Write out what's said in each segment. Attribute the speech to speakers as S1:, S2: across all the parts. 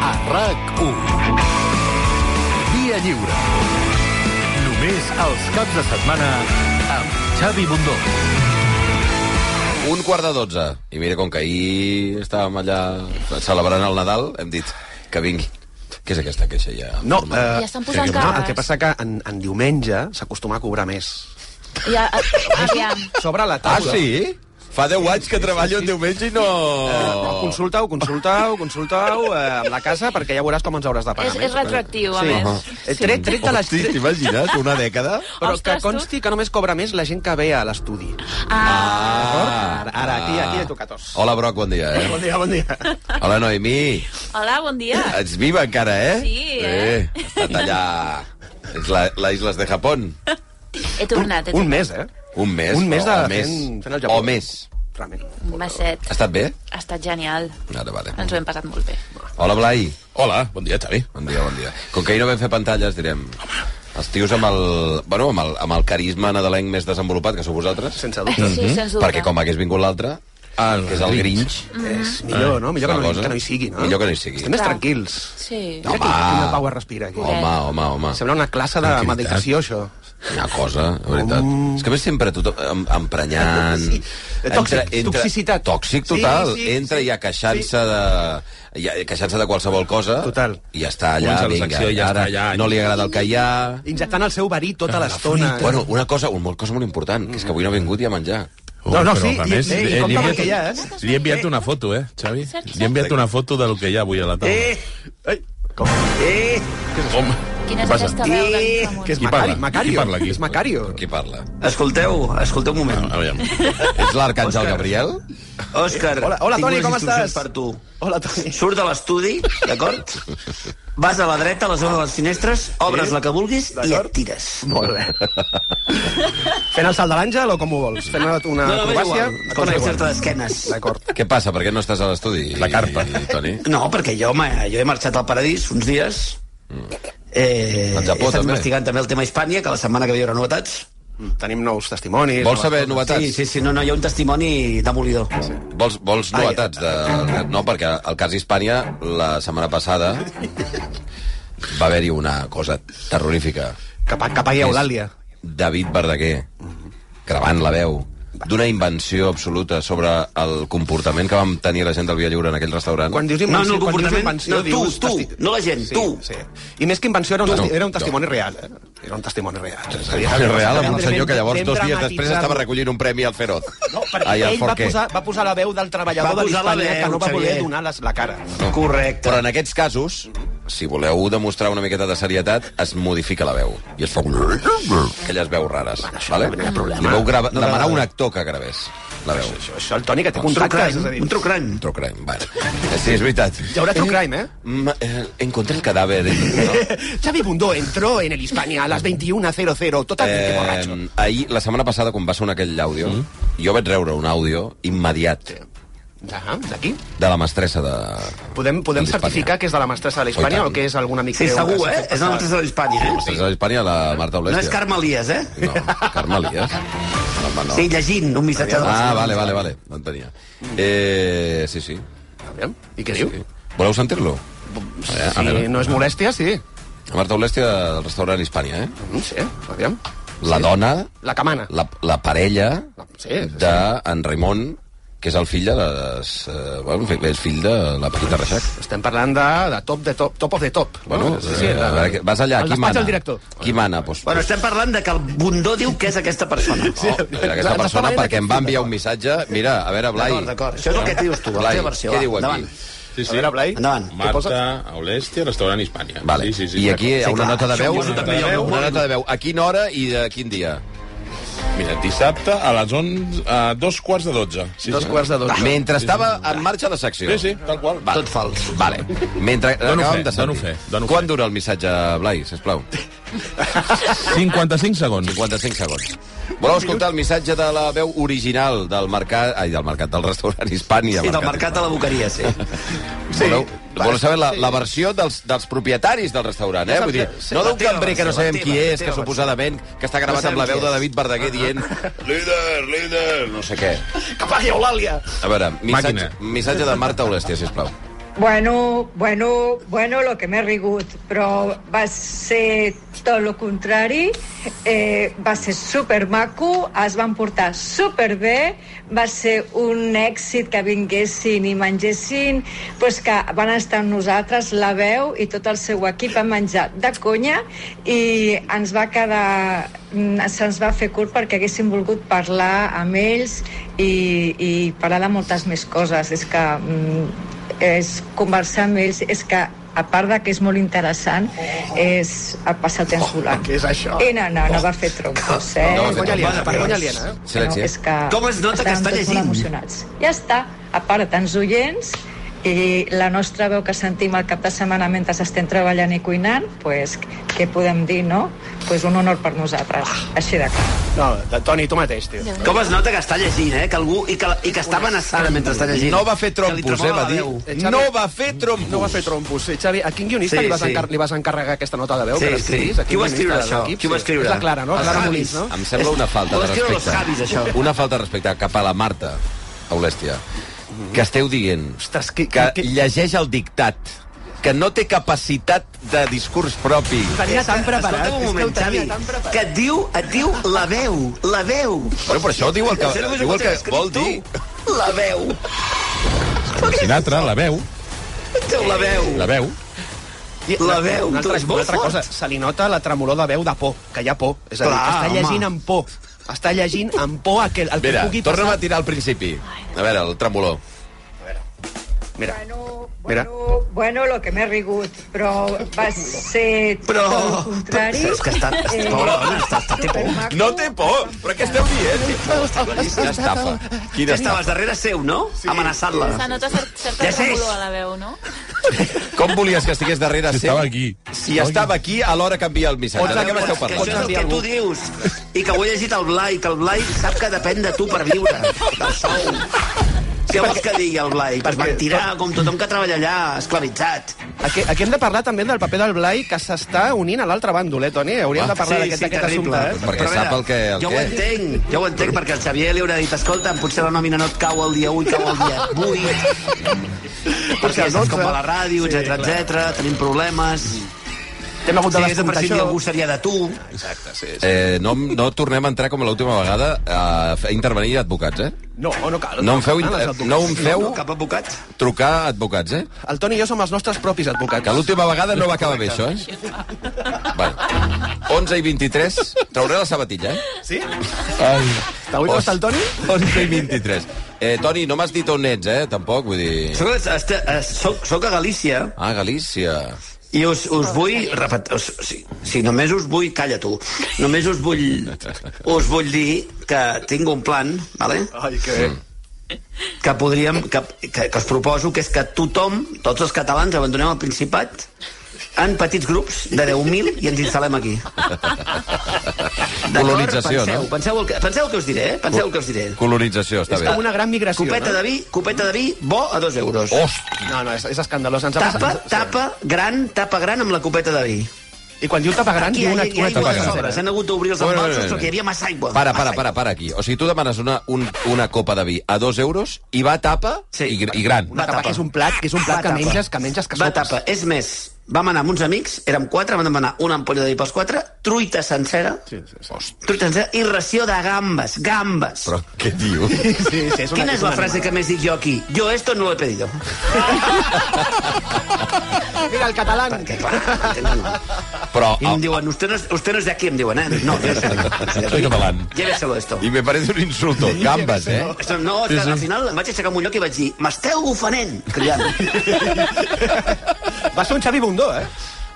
S1: RAC1 Via lliure Només els caps de setmana amb Xavi Bundó
S2: Un quart de dotze. I mira, com que ahir estàvem allà celebrant el Nadal, hem dit que vingui. Què és aquesta queixa ja?
S3: No, eh,
S2: formal?
S4: Ja estan posant
S3: no, el
S4: cares.
S3: que passa que en, en diumenge s'acostuma a cobrar més.
S4: Ja, a- aviam.
S3: Sobre la
S2: Ah,
S3: taula.
S2: sí? Fa 10 anys que treballo un diumenge i no...
S3: No, Oh. consulta-ho, consulta-ho, consulta-ho eh, amb la casa perquè ja veuràs com ens hauràs de pagar
S4: És-
S3: més.
S4: és retroactiu, a més.
S3: Eh, Tret, tret de les...
S2: Hosti,
S3: Tret,
S2: t'imagines? Una dècada?
S3: però que
S4: Ostres, tu.
S3: consti que només cobra més la gent que ve a l'estudi.
S4: Ah,
S3: Ara, ara, aquí, aquí he tocat os.
S2: Hola, Broc, bon dia, eh?
S3: dia, bon dia.
S2: Hola, Noemí.
S4: hola, bon dia.
S2: Ets viva encara, eh?
S4: Sí, eh?
S2: Eh, estat allà... És la, la Islas de Japón.
S4: He tornat, he
S3: Un
S4: tornat.
S3: mes, eh?
S2: Un mes, Oh,
S3: Un mes de
S2: o més.
S3: fent, fent el Japó.
S2: O més.
S3: Realment.
S4: Un meset.
S2: Ha estat bé?
S4: Ha estat genial.
S2: Ara, vale.
S4: Ens ho hem passat molt bé.
S2: Hola, Blai.
S5: Hola, bon dia, Xavi.
S2: Bon dia, bon dia. Com que ahir no vam fer pantalles, direm... Els tios amb el, bueno, amb el, amb el carisma nadalenc més desenvolupat, que sou vosaltres,
S3: Sense
S4: Sí,
S3: dubte.
S4: sens dubte.
S2: perquè com hagués vingut l'altre,
S5: El
S2: que és el Grinch...
S3: Mm-hmm. És millor, no? Millor que no,
S2: Una cosa.
S3: que no hi sigui, no?
S2: Millor que no hi sigui.
S3: Estem més
S4: Clar.
S3: tranquils.
S4: Sí.
S3: Mira quina, quina pau es respira aquí.
S4: Pobre.
S2: Home, home, home.
S3: Sembla una classe de
S5: Tranquil·litat.
S3: medicació, això.
S2: Una cosa, de veritat.
S3: Mm.
S2: És que a més sempre tothom em- emprenyant...
S3: Sí. Tòxic, toxicitat.
S2: Tòxic
S3: Sí,
S2: total.
S3: sí,
S2: Entra
S3: sí.
S2: ja queixant-se de... Ja, queixant-se de qualsevol cosa.
S3: Total.
S2: I ja està allà,
S5: Comença la
S2: vinga.
S5: secció i ja
S2: ara
S5: està allà.
S2: No li agrada el que hi ha...
S3: Injectant el seu verí tota l'estona.
S2: Bueno, una cosa, una cosa molt important, que és que avui no ha vingut i a menjar.
S3: No, no,
S5: Però,
S3: sí,
S5: a
S3: i-
S5: més,
S3: eh, i
S5: eh,
S3: compte
S5: li he
S3: perquè ja, eh?
S5: enviat- Li he enviat una foto, eh, Xavi?
S4: Cert, cert.
S5: Li he enviat una foto del que hi ha avui a la taula.
S3: Eh! Ai, com? Eh!
S5: Com?
S4: Quina és
S5: Què passa?
S4: aquesta veu d'en
S3: Eh,
S4: Ramon?
S3: Que és
S5: Qui
S3: Macari,
S5: parla?
S3: Macario.
S5: Qui parla aquí?
S3: És Macario.
S2: Qui parla?
S6: Escolteu, escolteu un moment.
S5: A veure,
S2: És l'arcàngel Gabriel?
S6: Òscar,
S3: Hola, hola,
S6: tinc
S3: Toni,
S6: unes
S3: com
S6: instruccions
S3: estàs?
S6: per tu.
S3: Hola, Toni.
S6: Surt de l'estudi, d'acord? Vas a la dreta, a la zona de les finestres, obres la que vulguis i et tires.
S3: Molt bé. Fent el salt de l'àngel o com ho vols? Fent una, una
S6: No, no, m'és
S3: acrobàcia?
S6: igual.
S3: Et
S6: Com
S3: dona
S6: que
S3: igual.
S6: certa d'esquenes.
S3: D'acord.
S2: Què passa? Per què no estàs a l'estudi?
S5: La carpa.
S2: I, Toni?
S6: No, perquè jo, home, jo he marxat al paradís uns dies.
S3: Mm. Doncs
S6: Eh, he
S2: Al
S6: estat
S2: Japó, també.
S6: investigant també el tema Hispània, que la setmana que ve hi haurà novetats.
S3: Tenim nous testimonis.
S2: Vols saber
S3: noves
S2: novetats?
S6: Sí, sí, sí, no, no, hi ha un testimoni demolidor.
S2: Vols, vols
S6: Ai,
S2: novetats? De... No, perquè al cas Hispània, la setmana passada va haver-hi una cosa terrorífica.
S3: coses. Que, pa- que pagui Eulàlia.
S2: David Verdaguer, gravant la veu, d'una invenció absoluta sobre el comportament que vam tenir la gent del Via Lliure en aquell restaurant.
S3: Quan dius
S6: No, no, el
S3: invenció, quan dius
S6: comportament,
S3: invenció,
S6: no, tu,
S3: dius
S6: tu,
S3: testi-
S6: no la gent,
S3: sí,
S6: tu.
S3: Sí. I més que invenció era un,
S2: No,
S3: testi
S2: no,
S3: era un
S2: no.
S3: testimoni real. Eh? Era un testimoni real. És a dir,
S2: És real, amb un
S3: estem-
S2: senyor que llavors
S3: estem
S2: dos dies després
S3: dramatitzant.
S2: estava recollint un premi al Feroz.
S3: No, perquè
S2: Ai, al
S3: ell va
S2: Forqué.
S3: posar, va posar la veu del treballador
S6: Va
S3: de
S6: posar la
S3: l'Hispània que
S6: veu,
S3: no va voler
S6: Xavier.
S3: donar les, la cara.
S6: Correcte.
S2: Però en aquests casos, si voleu demostrar una miqueta de serietat, es modifica la veu. I es fa un... aquelles veus rares. Vale? Li vau grava...
S3: No
S2: demanar
S3: agrada.
S2: un actor que gravés la veu.
S3: Això, això el Toni que té
S6: Un
S3: contractes, és a
S6: trucrany,
S3: dir...
S6: un trucrany.
S2: True crime, vale. Sí, és veritat.
S3: Hi haurà true crime, eh?
S2: Mm, eh, encontré el cadàver. Eh,
S3: Xavi Bundó entró en el Hispania a las 21.00, totalmente borracho.
S2: eh, ahir, la setmana passada, quan va sonar aquell àudio, jo vaig reure un àudio immediat
S3: Ahà, d'aquí.
S2: de la mestressa de...
S3: Podem, podem
S2: de l'Hispània.
S3: certificar que és de la mestressa de la
S2: Oh, i
S3: Hispània
S2: tant.
S3: o que és algun amic
S6: Sí,
S3: teu que
S6: segur,
S3: s'ha
S6: eh?
S3: fet
S6: És la
S3: passar?
S6: mestressa de l'Hispània, eh?
S2: Mestressa de Hispània, la Marta
S6: No
S2: Olèstia.
S6: és Carme Elias, eh?
S2: No, Carme Elias. Home, no.
S6: Sí, llegint un missatge de
S2: Ah, vale, vale, vale. No entenia. Eh, sí, sí.
S3: Aviam, I què diu?
S2: sí. Voleu sentir-lo?
S3: Si no és molèstia, sí.
S2: Marta Olèstia del restaurant Hispània, eh?
S3: Mm, Sí, aviam.
S2: La dona,
S3: La camana.
S2: la, la parella
S3: Sí, sí, sí.
S2: d'en Raimon, que és el fill de les... Eh, bueno, és fill de la Paquita Reixac.
S3: Estem parlant de, de top de top, top of the top.
S2: Bueno,
S6: Oh,
S3: no? Oh, sí, sí,
S2: eh, a veure, què- vas allà,
S3: el
S2: qui
S3: despatx
S2: mana?
S3: del director.
S2: Qui mana? Doncs, Pues,
S6: Bueno, estem parlant de que el Bundó diu que és aquesta persona.
S2: oh, era
S3: Ens està
S2: aquesta persona,
S3: venent
S2: perquè em va
S3: aquest
S2: enviar un missatge... Mira, a veure, Blai...
S6: D'acord, d'acord. Això és el que et dius tu, la
S2: Blai,
S6: teva versió.
S2: què
S6: va,
S2: diu aquí?
S6: Endavant.
S5: Sí, sí.
S3: A veure, Blai.
S6: Endavant.
S5: Marta, Aulèstia, restaurant Hispània.
S2: Vale.
S5: Sí, sí, sí.
S2: I aquí hi ha
S6: Sí,
S2: una
S6: clar,
S2: nota de
S6: això
S2: veu,
S6: ho poso també jo,
S2: una
S6: molt.
S2: nota de veu. A quina hora i de quin dia?
S5: Mira, dissabte a les 11... A dos quarts de 12. Sí,
S3: Dos
S5: sí.
S3: quarts de dos.
S2: Mentre estava en marxa la secció.
S5: Sí, sí, tal qual.
S2: Val.
S6: Tot fals.
S2: Vale. Mentre
S5: Dono
S2: acabem
S5: fe,
S2: de
S5: dono
S2: sentir.
S5: fe, dono
S2: Quant
S5: fe.
S2: dura el missatge, Blai, sisplau?
S5: 55 segons.
S2: 55 segons. Voleu escoltar el missatge de la veu original del mercat... Ai, del mercat, del restaurant Hispània.
S6: Sí, del mercat a la boqueria, sí.
S2: Sí. Voleu,
S3: Va,
S2: voleu saber la, la versió dels, dels propietaris del restaurant, eh? Vull dir,
S6: sí,
S2: no
S6: la
S2: d'un
S6: teva
S2: cambrer que no
S6: versió, la
S2: sabem qui
S6: teva, la
S2: és, que
S6: teva
S2: suposadament que està gravat
S6: No
S2: amb la
S6: sabem
S2: veu
S6: qui
S2: de
S6: és.
S2: David Verdaguer dient líder, líder, no sé què.
S3: Que pagui Eulàlia!
S2: A veure, missatge,
S5: Màquina.
S2: missatge de Marta Olèstia, sisplau.
S7: Bueno, bueno, bueno, lo que m'he rigut, però va ser tot el contrari, eh, va ser supermaco, es van portar superbé, va ser un èxit que vinguessin i mengessin, doncs que van estar amb nosaltres, la veu i tot el seu equip a menjar de conya i ens va quedar mm, se'ns va fer curt perquè haguéssim volgut parlar amb ells i, i parlar de moltes més coses. És que mm, és conversar amb ells és que a part de que és molt interessant és a passar el temps volant
S3: què és això?
S7: eh, no, no, no va fer troncos eh?
S2: No va fer
S3: Vergonya aliena, vergonya aliena, eh?
S2: Silenci, eh?
S7: és que
S6: Com es nota que
S7: estàvem
S6: està
S7: tots
S6: llegint?
S7: Molt emocionats. Ja està, a part de tants oients, i la nostra veu que sentim el cap de setmana mentre estem treballant i cuinant, pues, què podem dir, no? Pues un honor per nosaltres, així de clar.
S3: No, de Toni, tu mateix, tio.
S6: Com es nota que està llegint, eh? Que algú, i, que, i que està amenaçant mentre està llegint.
S2: No va fer
S6: Que li
S2: trompos, eh,
S6: tremolava
S2: va
S6: la
S2: dir.
S6: veu.
S2: No va fer trompos.
S3: No va fer trompos. Sí, Xavi, a quin guionista
S6: Sí,
S3: li, vas
S6: sí.
S3: encar li vas encarregar aquesta nota de veu?
S6: Sí,
S3: que l'escrivís?
S6: sí.
S3: A quin
S6: Qui ho va
S3: guionista
S6: escriure,
S3: de
S6: això?
S3: l'equip?
S6: Qui ho va
S3: Sí.
S6: escriure?
S3: És la Clara, no?
S6: Els
S3: Clara
S6: avis.
S3: Molins, no?
S2: Em sembla una falta de
S6: Ho escriuen els
S2: respecte.
S6: avis, això.
S2: Una falta de respecte cap a la Marta, Aulèstia, que esteu dient
S3: Ostres, que-
S2: que
S3: que-
S2: llegeix el dictat, que no té capacitat de discurs propi.
S3: Tenia tan
S6: Escolta'm un moment, Xavi, que et diu, et diu la veu, la veu.
S2: Bueno, però això diu el que,
S6: Això només ho
S2: diu el
S6: pots
S2: que
S6: escriure
S2: vol
S6: tu.
S2: dir.
S6: La veu,
S5: Sinatra, la veu,
S6: Déu, la veu.
S5: la veu.
S6: La veu,
S3: una altra,
S6: doncs
S3: una
S6: molt
S3: altra
S6: fort.
S3: cosa, se li nota la tremolor de veu de por, que hi ha por. És a dir,
S6: Clar,
S3: està
S6: home.
S3: llegint amb por. Està llegint amb por a que, el que
S2: Mira,
S3: pugui
S2: torna'm
S3: passar.
S2: a tirar al principi. A veure, el tremolor.
S3: Mira,
S7: Bueno,
S3: Mira.
S7: bueno, bueno, lo que m'he rigut, però va ser
S6: Però-
S7: tot el contrari.
S6: Però és que està-
S7: Eh,
S6: pobra dona, està- està- té por.
S7: supermaco.
S2: No té por! Però què esteu dient? Quina estafa.
S6: Que
S2: Quina estafa.
S6: estaves darrere seu, no? Amenaçant-la.
S4: Se nota cer- certa
S6: Ja sé.
S4: tremolor a la veu, no?
S2: Com volies que estigués darrere
S3: Ah,
S5: Si
S2: seu?
S5: estava aquí.
S2: Si estava aquí, alhora canvia el missatge. De què m'esteu
S6: Que això és
S2: parlant?
S6: el que tu dius. I que ho he llegit al Blai, que el Blai sap que depèn de tu per viure, del sou. Què vols que digui el Blai? Per mentirà, com tothom que treballa allà, esclavitzat.
S3: aquí, aquí hem de parlar també del paper del Blai, que s'està unint a l'altre bàndol, eh, Toni? Hauríem de parlar d'aquest d'aquest assumpte, eh?
S2: Perquè
S6: a veure,
S2: sap el que- el
S6: jo
S2: què.
S6: ho entenc, jo ho entenc, perquè el Xavier li haurà dit, escolta'm, potser la nòmina no et cau el dia 1, cau el dia 8.
S3: Potser
S6: perquè
S3: el
S6: estàs com
S3: 12.
S6: a la ràdio, etc etc. tenim problemes.
S3: Hem eh? hagut
S6: Si
S3: de
S6: hagués de
S3: descomptar
S6: prescindir,
S3: això.
S6: algú seria de tu.
S2: Eh, no, no tornem a entrar com l'última vegada a fer- a intervenir advocats, eh?
S3: No, no cal.
S2: No em feu,
S3: Ah, les
S2: inter-
S3: advocats.
S2: no em feu
S6: Cap advocat?
S2: trucar a advocats, eh?
S3: El Toni i jo som els nostres propis advocats.
S2: Que l'última vegada no va acabar bé, això, eh? Bueno, 11 i 23. Trauré la sabatilla, eh?
S3: Sí?
S5: Ai.
S3: Avui
S2: Os-
S3: no està el Toni?
S2: 11 i 23. Eh, Toni, no m'has dit on ets, eh? Tampoc, vull dir...
S6: Soc, este- eh, soc, soc a Galícia
S2: Ah, Galícia.
S6: i us, us vull... Repet, us, sí, sí, només us vull... Calla, tu. Només us vull, us vull dir que tinc un plan, vale?
S3: Ai, que bé.
S2: Mm,
S6: que podríem... Que, que, que us proposo que és que tothom, tots els catalans, abandonem el Principat en petits grups de 10.000 i ens instal·lem aquí. D'acord?
S2: Colonització,
S6: penseu,
S2: no?
S6: Penseu el, que, penseu el que us diré, eh? Penseu el que us diré.
S2: Colonització, està
S3: És
S2: bé.
S3: com una gran migració,
S6: Copeta
S3: no?
S6: de vi, copeta de vi, bo a dos euros.
S2: Hosti,
S3: No, no, és, és escandalós. Ens ha
S6: Tapa,
S3: passat-
S6: tapa gran, tapa gran amb la copeta de vi.
S3: I quan diu tapa gran,
S6: Aquí hi
S3: diu
S6: ha,
S3: una,
S6: hi ha
S3: una
S6: aigua
S3: tapa
S6: de
S3: gran.
S6: sobres. Han hagut d'obrir els
S2: Bueno,
S6: embalsos
S2: bueno, bueno.
S6: perquè hi havia massa aigua.
S2: para, para,
S6: Massa
S2: para, para aquí. O sigui, tu demanes una, un, una copa de vi a dos euros i va a tapa
S6: Sí.
S2: i, gr- i gran.
S3: Una tapa,
S6: tapa.
S3: que és un plat, que és un
S6: Va,
S3: plat que
S6: tapa.
S3: menges, que menges, que
S6: Va
S3: sopes.
S6: tapa. És més, vam anar amb uns amics, érem quatre, vam demanar una ampolla de vi pels quatre, truita sencera,
S2: Hosti,
S6: truita sencera i ració de gambes, gambes.
S2: però què diu?
S3: Sí, sí, és una,
S6: Quina és la
S3: una-
S6: frase que més dic jo aquí? Yo esto no lo he pedido.
S3: Mira, el català...
S6: Perquè, clar, entenen, no.
S2: Però...
S3: Ah.
S6: I em diuen, usted no, es, usted no es de aquí, em diuen, eh? No, jo no soy de aquí.
S5: Soy catalán.
S6: Lléveselo esto.
S2: I me parece un insulto. Gambes, eh?
S6: Això No, sí, sí. al final em vaig aixecar amb un lloc i vaig dir m'esteu ofenent, criant.
S3: Va ser un Xavi Bundó, eh?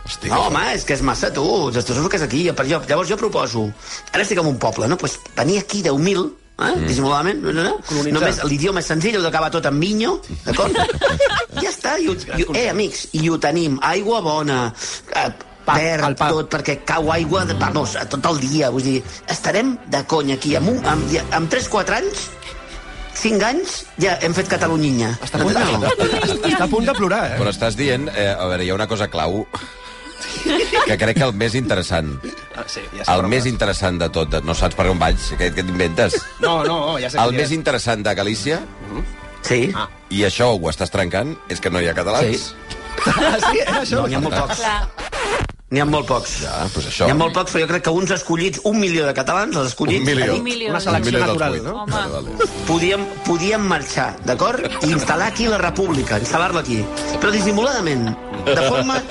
S2: Hosti,
S6: No, home, és que és massa, tu. Destrossós que és aquí. Per jo, llavors jo proposo... Ara estic en un poble, no? Pues venir aquí 10.000, eh? Mm. dissimuladament, no, no, no.
S3: Colonitzar.
S6: només l'idioma és senzill, heu d'acabar tot amb vinyo, d'acord? ja està, i, ho- i, eh, amics, i ho tenim, aigua bona, eh,
S3: Pa,
S6: verd,
S3: el pa.
S6: tot, perquè cau aigua de, vamos, tot el dia, vull dir, estarem de conya aquí, amb, un, amb, ja- amb 3-4 anys, 5 anys, ja hem fet Catalunya.
S3: Està a punt de, està a punt de plorar, eh?
S2: Però estàs dient... Eh, a veure, hi ha una cosa clau que crec que el més interessant,
S3: Ah, sí, ja sé,
S2: el
S3: però-
S2: més interessant de tot, no saps per on vaig, què, què t'inventes?
S3: No, no, ja sé.
S2: El
S3: qui
S2: més
S3: és.
S2: interessant de Galícia
S6: Sí. Ah.
S2: I això ho estàs trencant? És que no hi ha catalans?
S3: Ah, sí, era això.
S6: No, n'hi ha molt pocs.
S4: Clar,
S6: N'hi ha molt pocs.
S2: Ja, doncs això.
S6: N'hi ha molt pocs, però jo crec que uns escollits, un milió de catalans, els escollits,
S2: Un milió.
S4: un milió.
S3: Una selecció
S2: milió dels
S3: natural,
S2: vuit.
S3: no?
S4: Home,
S6: podíem, podíem marxar, d'acord? I instal·lar aquí la república, instal·lar-la aquí. Però dissimuladament, de forma...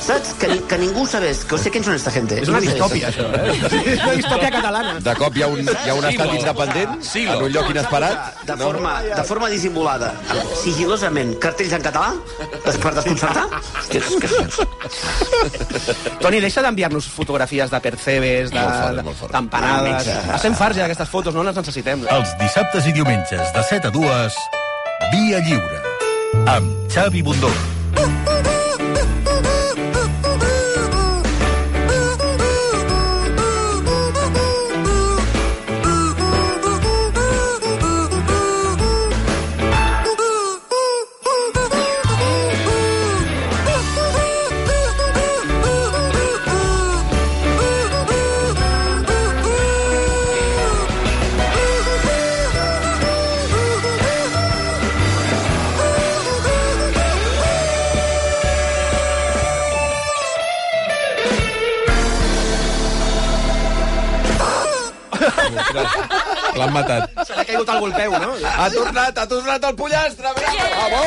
S6: Saps? Que, ni, que ningú sabés, que sé quién son esta gente.
S3: És una
S6: Ningú sabés.
S3: distòpia, això, eh? És una distòpia catalana.
S2: De cop hi ha un, hi ha un estat independent
S5: Silo.
S2: en un lloc inesperat.
S6: De forma, de forma dissimulada, sigilosament, cartells en català, des- per desconcertar. Hòstia, és que...
S3: Toni, deixa d'enviar-nos fotografies de percebes, de-
S2: Molt fort, molt fort.
S3: d'empanades... Estem farts ja d'aquestes fotos, no les necessitem.
S1: Els dissabtes i diumenges de 7 a 2, Via Lliure, amb Xavi Bundó.
S5: L'han matat.
S3: Se li ha caigut algú al peu, no?
S2: Ha tornat, ha tornat el pollastre! Yeah. Bravo!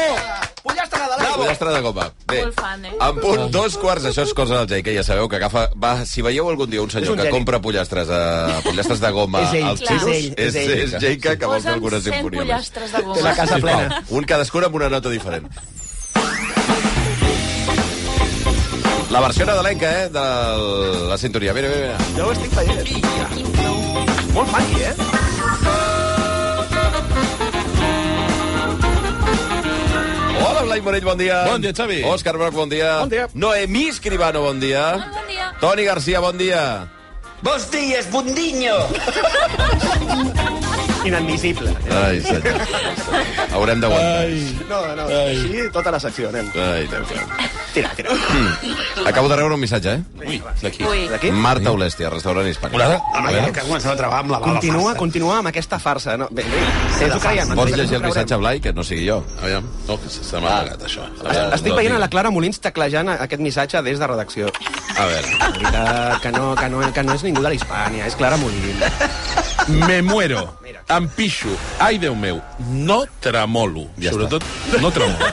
S3: Pollastre
S2: Bravo!
S3: Nadal!
S2: Pollastre de copa. Bé,
S4: Molt fan, eh?
S2: en punt dos quarts, això és cosa del Jaica, ja sabeu que agafa... Va, si veieu algun dia un senyor
S3: un
S2: que
S3: geni.
S2: compra pollastres, a, pollastres de goma
S3: És ell,
S2: als
S4: és
S2: xinos,
S3: ell, és
S2: és,
S3: ell.
S2: és Jaica que vol fer
S4: posa'm
S2: alguna
S4: 100
S2: simfonia. més.
S4: pollastres de
S3: Té la
S4: goma.
S3: casa plena.
S2: Un cadascun amb una nota diferent. La versió nadalenca, eh, de la sintonia. Mira, mira, mira.
S3: Jo ho estic veient. Molt funky, eh?
S2: Hola, Blai Morell, bon dia.
S5: Bon dia, Xavi.
S2: Òscar Broc, bon dia.
S3: Bon dia.
S2: Noemí Escribano, bon dia.
S4: Bon dia.
S2: Toni Garcia, bon dia.
S6: Bons dies, bundinho!
S3: Inadmissible.
S2: Ai, senyor. Haurem d'aguantar.
S5: Ai.
S3: No, no,
S5: Ai.
S3: així tota la secció, nen.
S2: Ai, Déu meu.
S3: Tira, tira.
S2: Acabo de rebre un missatge, eh?
S5: Ui, d'aquí.
S4: Ui,
S3: D'aquí?
S2: Marta Olèstia, restaurant hispànic.
S5: Una altra?
S6: Home, ja que comença a treballar amb la bala.
S3: Continua,
S6: farsa.
S3: continua amb aquesta farsa. No? Bé, bé, ens ho creiem.
S2: Pots
S3: ens ho
S2: llegir el
S3: creurem.
S2: missatge, Blai, que no sigui jo.
S5: Aviam. No, que se se m'ha
S2: Ah.
S5: apagat, això.
S3: Es- Estic veient a la Clara Molins teclejant aquest missatge des de redacció.
S5: A veure.
S3: La veritat, que no, que no, que no és ningú de la Hispània, és Clara Molins.
S5: Me muero.
S3: Mira.
S5: Em pixo. Ai, Déu meu. No tremolo.
S2: Ja
S5: Sobretot, no tremolo.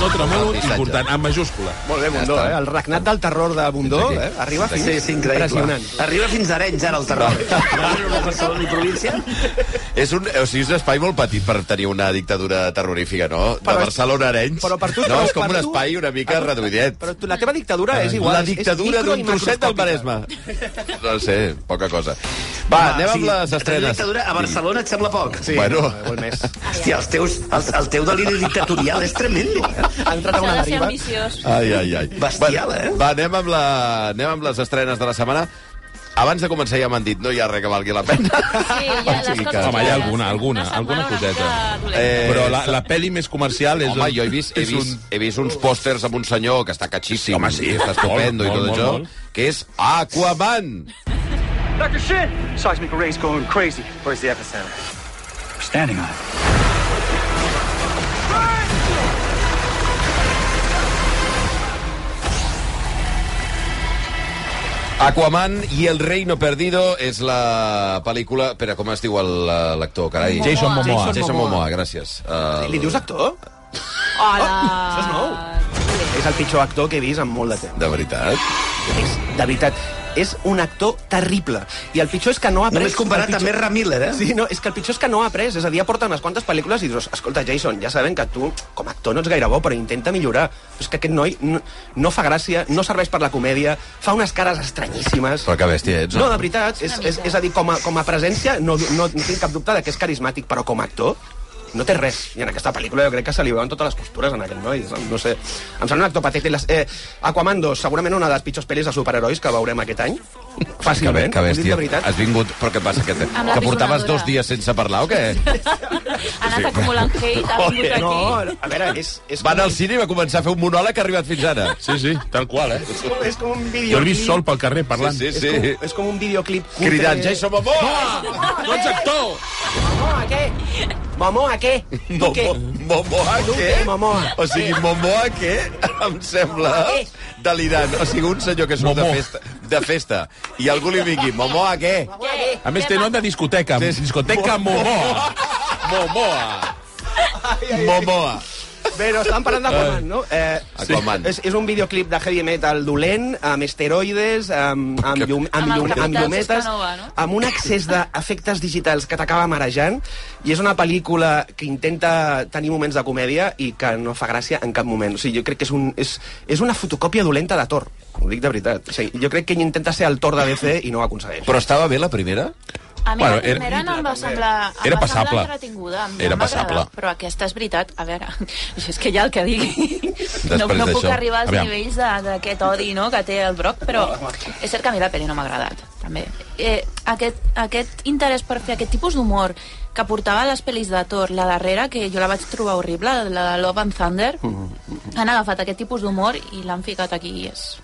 S5: No tremolo,
S2: El missatge.
S5: important, amb majúscula.
S3: Molt bé, Bundó, eh? El regnat del terror de Bundó eh? arriba fins...
S6: Sí, és increïble.
S3: Impressionant.
S6: Arriba fins a Arenys, ara, el terror. Imagina't una Barcelona i província.
S2: És un, o sigui, és un espai molt petit per tenir una dictadura terrorífica, no? De
S3: Però-
S2: Barcelona a Arenys.
S3: però per tu-
S2: no, és
S3: però
S2: com
S3: per
S2: un
S3: tu- Ah,
S2: espai una mica reduïdet.
S3: Però tu, la teva dictadura és igual.
S2: la
S3: és- és
S2: dictadura
S3: micro i
S2: d'un trosset del
S3: macroscòpica.
S2: Maresme. No sé, poca cosa. Va,
S6: Home,
S2: Ah, anem
S6: o
S2: amb
S6: sigui,
S2: les
S6: tenir
S2: estrenes.
S6: Dictadura a Barcelona et sembla poc?
S3: Ah, Sí,
S2: Bueno.
S3: bueno. no, molt més.
S6: Hòstia, els teus, el, el teu deliri dictatorial és tremendo. eh?
S3: Ha entrat a
S4: s'ha
S3: una
S4: de ser
S3: deriva.
S4: ambiciós.
S2: Ai, ai, ai.
S6: Bestial,
S2: va,
S6: eh?
S2: Va, anem amb, la, anem amb les estrenes de la setmana. Abans de començar ja m'han dit, no hi ha res que valgui la pena.
S4: Sí, ja, les
S2: sigui
S4: coses...
S2: que-
S5: Home, hi ha
S4: clares.
S5: alguna, alguna,
S4: Una setmana
S5: alguna
S4: una
S5: coseta.
S4: mica dolenta.
S2: Eh,
S5: Però la, la pel·li més comercial és...
S2: Home,
S5: un-
S2: jo he vist, he
S5: és
S2: vist, he vist uns pòsters amb un senyor que està catxíssim,
S5: Home, sí,
S2: que està estupendo
S5: molt,
S2: i tot
S5: molt,
S2: això,
S5: molt,
S2: que és Aquaman.
S8: Dr. Shit! Seismic array's going crazy. Where's the epicenter? We're standing on it.
S2: Aquaman i El Reino Perdido és la pel·lícula... Espera, com es diu el- eh, l'actor, carai?
S5: Jason Momoa.
S2: Jason Momoa, gràcies. Uh,
S3: Li dius actor?
S4: Hola!
S3: Això és nou. És el pitjor actor que he vist en molt de temps.
S2: De veritat?
S3: És, de veritat, és un actor terrible. I el pitjor és que no ha après...
S6: Només comparat
S3: el
S6: amb
S3: pitjor...
S6: Ezra Miller, eh?
S3: Sí, no, és que el pitjor és que no ha après. És a dir, ja porta unes quantes pel·lícules i dius, escolta, Jason, ja sabem que tu, com a actor, no ets gaire bo, però intenta millorar. Però és que aquest noi no, no fa gràcia, no serveix per la comèdia, fa unes cares estranyíssimes...
S2: Però que bèstia ets,
S3: No,
S2: no?
S3: de veritat, és, és, és a dir, com a, com a presència no, no, no tinc cap dubte de que és carismàtic, però com a actor no té res. I en aquesta pel·lícula jo crec que se li veuen totes les costures en aquest noi. No sé, em sembla un actor patètic. Les- Eh, Aquaman 2, segurament una de les pitjors pel·lis de superherois que veurem aquest any.
S2: Que, bé,
S3: Fàcilment,
S2: que
S3: ho dic
S2: bèstia. Ah,
S3: de veritat.
S2: Has vingut... Però què passa? Que, te-
S4: Amb la
S2: que portaves
S4: pisonadora.
S2: dos dies sense parlar o què?
S4: Ha anat acumulant hate, ha vingut
S2: Joder,
S4: aquí.
S3: No, a veure, és, és,
S2: Va
S3: com,
S2: anar al cine i va començar a fer un monòleg que ha arribat fins ara.
S5: Sí, sí, tal qual, eh?
S3: és com un
S5: Jo l'he
S3: videoclip...
S5: vist sol pel carrer parlant.
S2: Sí,
S3: És
S2: sí, sí.
S3: com, és com un videoclip... cutre.
S2: Cridant, Jason Momoa!
S5: No ets actor!
S3: No, aquest! Momoa, què? Tu què?
S2: Momo, Momoa,
S3: Tu
S2: què?
S3: què, Momoa?
S2: O sigui, Momoa, què? Em sembla
S3: Momoa, què?
S2: delirant. O sigui, un senyor que surt de
S5: Momo.
S2: festa, de festa i algú li vingui, Momoa, què?
S5: A més, té nom de discoteca.
S2: Sí, sí.
S5: Discoteca Momoa. Momoa.
S2: Momoa.
S3: Bé, no, estàvem parlant d'Aquaman, no? Eh,
S2: Aquaman.
S3: És, és un videoclip de heavy metal dolent, amb esteroides, amb, amb, llum, amb,
S4: Amb el
S3: llum,
S4: capità
S3: amb llumetes,
S4: Suscanova, no?
S3: amb un accés d'efectes digitals que t'acaba marejant, i és una pel·lícula que intenta tenir moments de comèdia i que no fa gràcia en cap moment. O sigui, jo crec que és, un, és, és una fotocòpia dolenta de Thor, ho dic de veritat. O sigui, jo crec que ell intenta ser el Thor de DC i no ho aconsegueix.
S2: Però estava bé la primera?
S4: A mi
S5: Bueno,
S4: bueno,
S5: era-
S4: la primera no em va semblar... Em
S5: Era
S4: va semblar
S5: passable.
S4: entretinguda, em
S5: Era
S4: va agradar,
S5: passable.
S4: Però aquesta és veritat. A veure, això és que ja el que digui... No,
S2: Després
S4: no puc
S2: d'això,
S4: arribar als
S5: aviam.
S4: nivells de- d'aquest odi no, que té el Broc, però és cert que a mi la pel·li no m'ha agradat, també. Eh, aquest, aquest interès per fer aquest tipus d'humor que portava a les pel·lis de Thor, la darrera, que jo la vaig trobar horrible, la de Love and Thunder,
S5: Mm,
S4: han agafat aquest tipus d'humor i l'han ficat aquí i és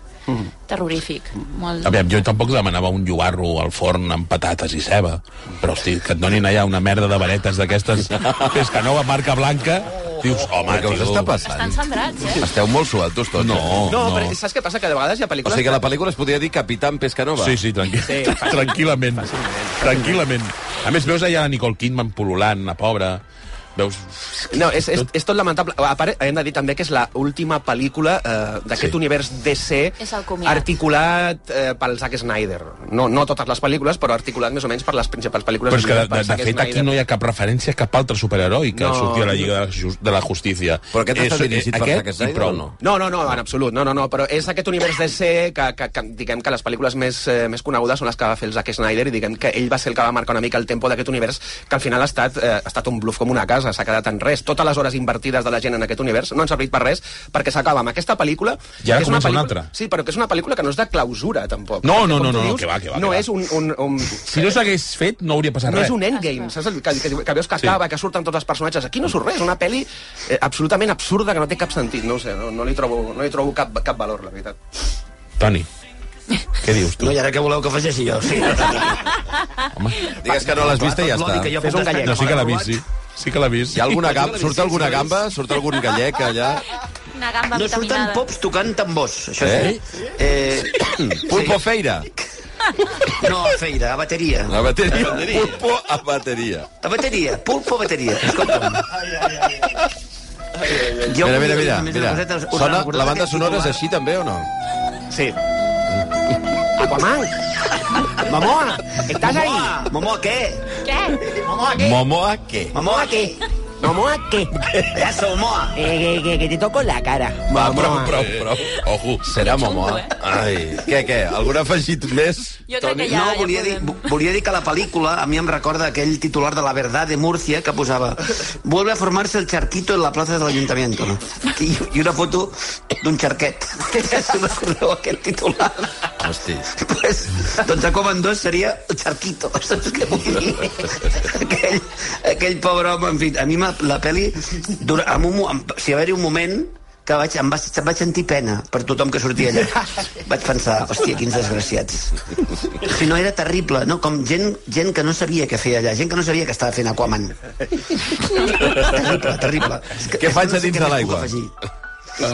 S4: terrorífic. Molt...
S5: Mm. Aviam, jo tampoc demanava un llobarro al forn amb patates i ceba. Però, hosti, que et donin allà una merda de varetes d'aquestes pescanova marca blanca, dius, home,
S2: Però què us està
S5: tio,
S4: Estan
S2: passant?
S4: sembrats, eh?
S2: Esteu molt suatos tots. eh?"
S3: No,
S2: No.
S3: no. però saps què passa? Que de vegades hi ha
S2: O
S3: pel·lícules...
S2: sigui que la pel·lícula es podria dir Capitán Pescanova.
S5: Sí, sí, tranquil...
S3: Sí,
S5: sí
S3: fàcilment.
S5: tranquil·lament. Tranquil·lament. A més, veus allà la Nicole Kidman pol·lulant, la pobra... Veus...
S3: No, és, és, és tot lamentable. A part, hem de dir també que és l'última pel·lícula eh, d'aquest
S5: Sí.
S3: sí. univers DC
S4: És el comiat.
S3: articulat eh, pel Zack Snyder. No, no totes les pel·lícules, però articulat més o menys per les principals pel·lícules.
S5: Però és que, de,
S3: per
S5: de, de
S3: Zack
S5: fet, aquí
S3: Snyder.
S5: no hi ha cap referència a cap altre superheroi que
S3: No.
S5: no. surti a la Lliga de la, Jus- de la Justícia.
S2: Però aquest està
S5: És-
S2: dirigit per
S5: aquest
S2: Zack
S5: i
S2: Snyder o
S5: prou.
S2: no?
S3: No, no, no, en absolut, no, no, no, però és aquest univers DC que, que, que diguem que les pel·lícules més, eh, més conegudes són les que va fer el Zack Snyder i diguem que ell va ser el que va marcar una mica el tempo d'aquest univers que al final ha estat, eh, ha estat un bluff com una casa, s'ha quedat en res. Totes les hores invertides de la gent en aquest univers no han servit per res perquè s'acaba amb aquesta pel·lícula...
S5: I ara
S3: que és
S5: comença una
S3: pel·lícula-
S5: altra.
S3: Sí, però que és una pel·lícula que no és de clausura, tampoc.
S5: No,
S3: Perquè,
S5: no,
S3: com tu
S5: no, no, no,
S3: dius,
S5: que va, que va,
S3: No
S5: que va.
S3: és un... un, un
S5: Si no s'hagués fet, no hauria passat
S3: no és
S5: res.
S3: un endgame, saps? El que, que, que veus que
S5: Sí.
S3: acaba, que surten tots els personatges. Aquí no surt res, una pel·li eh, absolutament absurda que no té cap sentit. No ho sé, no, no, li, trobo, no li trobo cap, cap valor, la veritat.
S5: Toni, què dius tu?
S6: No, i ara què voleu que facessi jo? Sí.
S2: Digues que no l'has vista i ja
S6: L'odi que
S2: està.
S6: jo
S3: Fes
S6: puc
S3: un gallec.
S5: No,
S6: estar-
S5: sí que l'ha vist, sí. Sí que l'ha vist.
S2: Hi ha alguna gamba? Surt alguna gamba? Surt algun gallec allà?
S4: Una gamba
S6: No surten
S4: vitaminada.
S6: pops tocant tambors, això
S2: Eh?
S6: sí. Eh,
S2: Pulpo feira.
S6: no, feira, a bateria.
S2: La bateria. Pulpo a bateria.
S6: A bateria, pulpo a bateria. Escolta'm. Jo
S2: Mira, mira,
S6: volia
S2: mira.
S6: només
S2: mira.
S6: una coseta, us
S2: Sona,
S6: recordeu
S2: la banda
S6: aquest
S2: sonora és
S6: titular?
S2: així també o no?
S6: Eh?
S3: Sí. Aquaman! Mamoa! Estàs ahí?
S6: Momoa, què?
S4: Què?
S2: Momoa què?
S6: Momoa, què?
S3: Mamoa, què?
S6: Pedazo, Momoa.
S3: Eh, que, que, que te toco la cara.
S2: Va, prou, prou, prou. Ojo, serà Momoa.
S4: eh?
S2: Ai, què, què? Algun afegit més?
S4: Jo crec que ja,
S6: no,
S4: ja
S6: volia, dir,
S4: podem.
S6: vo- volia dir que la pel·lícula a mi em recorda aquell titular de La Verdad de Murcia que posava Vuelve a formarse el charquito en la plaza del ayuntamiento. No? I, I una foto d'un charquet. Si recordeu aquest titular.
S2: Hosti.
S6: Pues, doncs a Coman 2 seria el charquito. Saps què vull dir? Aquell, aquell pobre home, en fi, a mi m'ha- la pel·li... Dura, en un, mo- en, o sigui, va haver-hi un moment que vaig, em vaig, vaig sentir pena per tothom que sortia allà. Vaig pensar, hòstia, quins desgraciats. Si no era terrible, no? Com gent, gent que no sabia què feia allà, gent que no sabia que estava fent Aquaman. terrible, terrible. És
S2: Què
S6: que, és que
S2: faig a
S6: sé
S2: dins
S6: què
S2: de
S6: més puc
S2: l'aigua?
S6: afegir.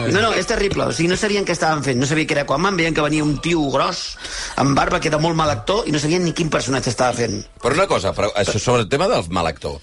S6: No, no, és terrible. O sigui, no sabien què estaven fent. No sabia que era Aquaman, veien que venia un tio gros, amb barba, que era molt mal actor, i no sabien ni quin personatge estava fent.
S2: Però una cosa, però, això, sobre el tema del mal actor.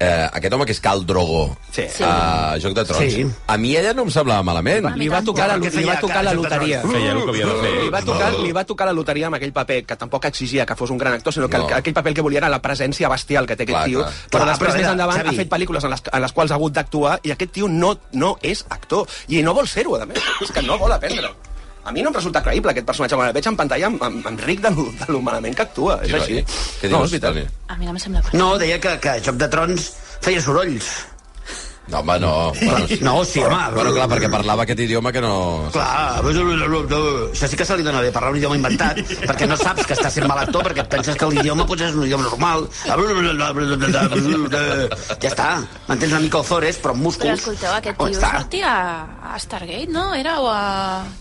S2: Eh, aquest home que és Cal Drogo,
S3: Sí.
S2: a Joc de Trons,
S6: Sí.
S2: a mi ella no em semblava malament.
S3: Li va tocar la,
S6: Però què
S3: li va
S6: feia
S3: tocar la
S6: Carles
S3: loteria.
S5: Feia el que havia de
S3: Li va,
S5: fer.
S3: tocar, li va tocar la loteria amb aquell paper que tampoc exigia que fos un gran actor, sinó que
S2: No.
S3: no. aquell paper el que volia era la presència bestial que té aquest
S2: Clar,
S3: tio.
S2: clar.
S3: Però
S6: Clar,
S3: després,
S6: però
S3: més
S6: mira,
S3: endavant,
S6: Xavi.
S3: ha fet pel·lícules en les, en les quals ha hagut d'actuar i aquest tio no, no és actor. I no vol ser-ho, a més. És que no vol aprendre-ho. A mi no em resulta creïble aquest personatge. Quan el veig en pantalla em, em, em ric de lo, de lo malament que actua. És
S2: eh? Què
S3: així.
S2: dius, Toni?
S3: no, és veritat.
S4: A mi no em sembla correcte.
S6: No, deia que, que Joc de Trons feia sorolls.
S2: No, home, no. Bueno, sí.
S6: No, sí, home.
S2: Bueno, clar, perquè parlava aquest idioma que no...
S6: Clar, això sí que se li dona bé, parlar un idioma inventat, perquè no saps que estàs sent mal actor, perquè et penses que l'idioma potser és un idioma normal. Ja està, mantens una mica Ozores, però amb
S4: Però
S6: músculs...
S4: escolteu, aquest
S6: On
S4: tio
S6: està?
S4: sortia a Stargate, no? Era o a...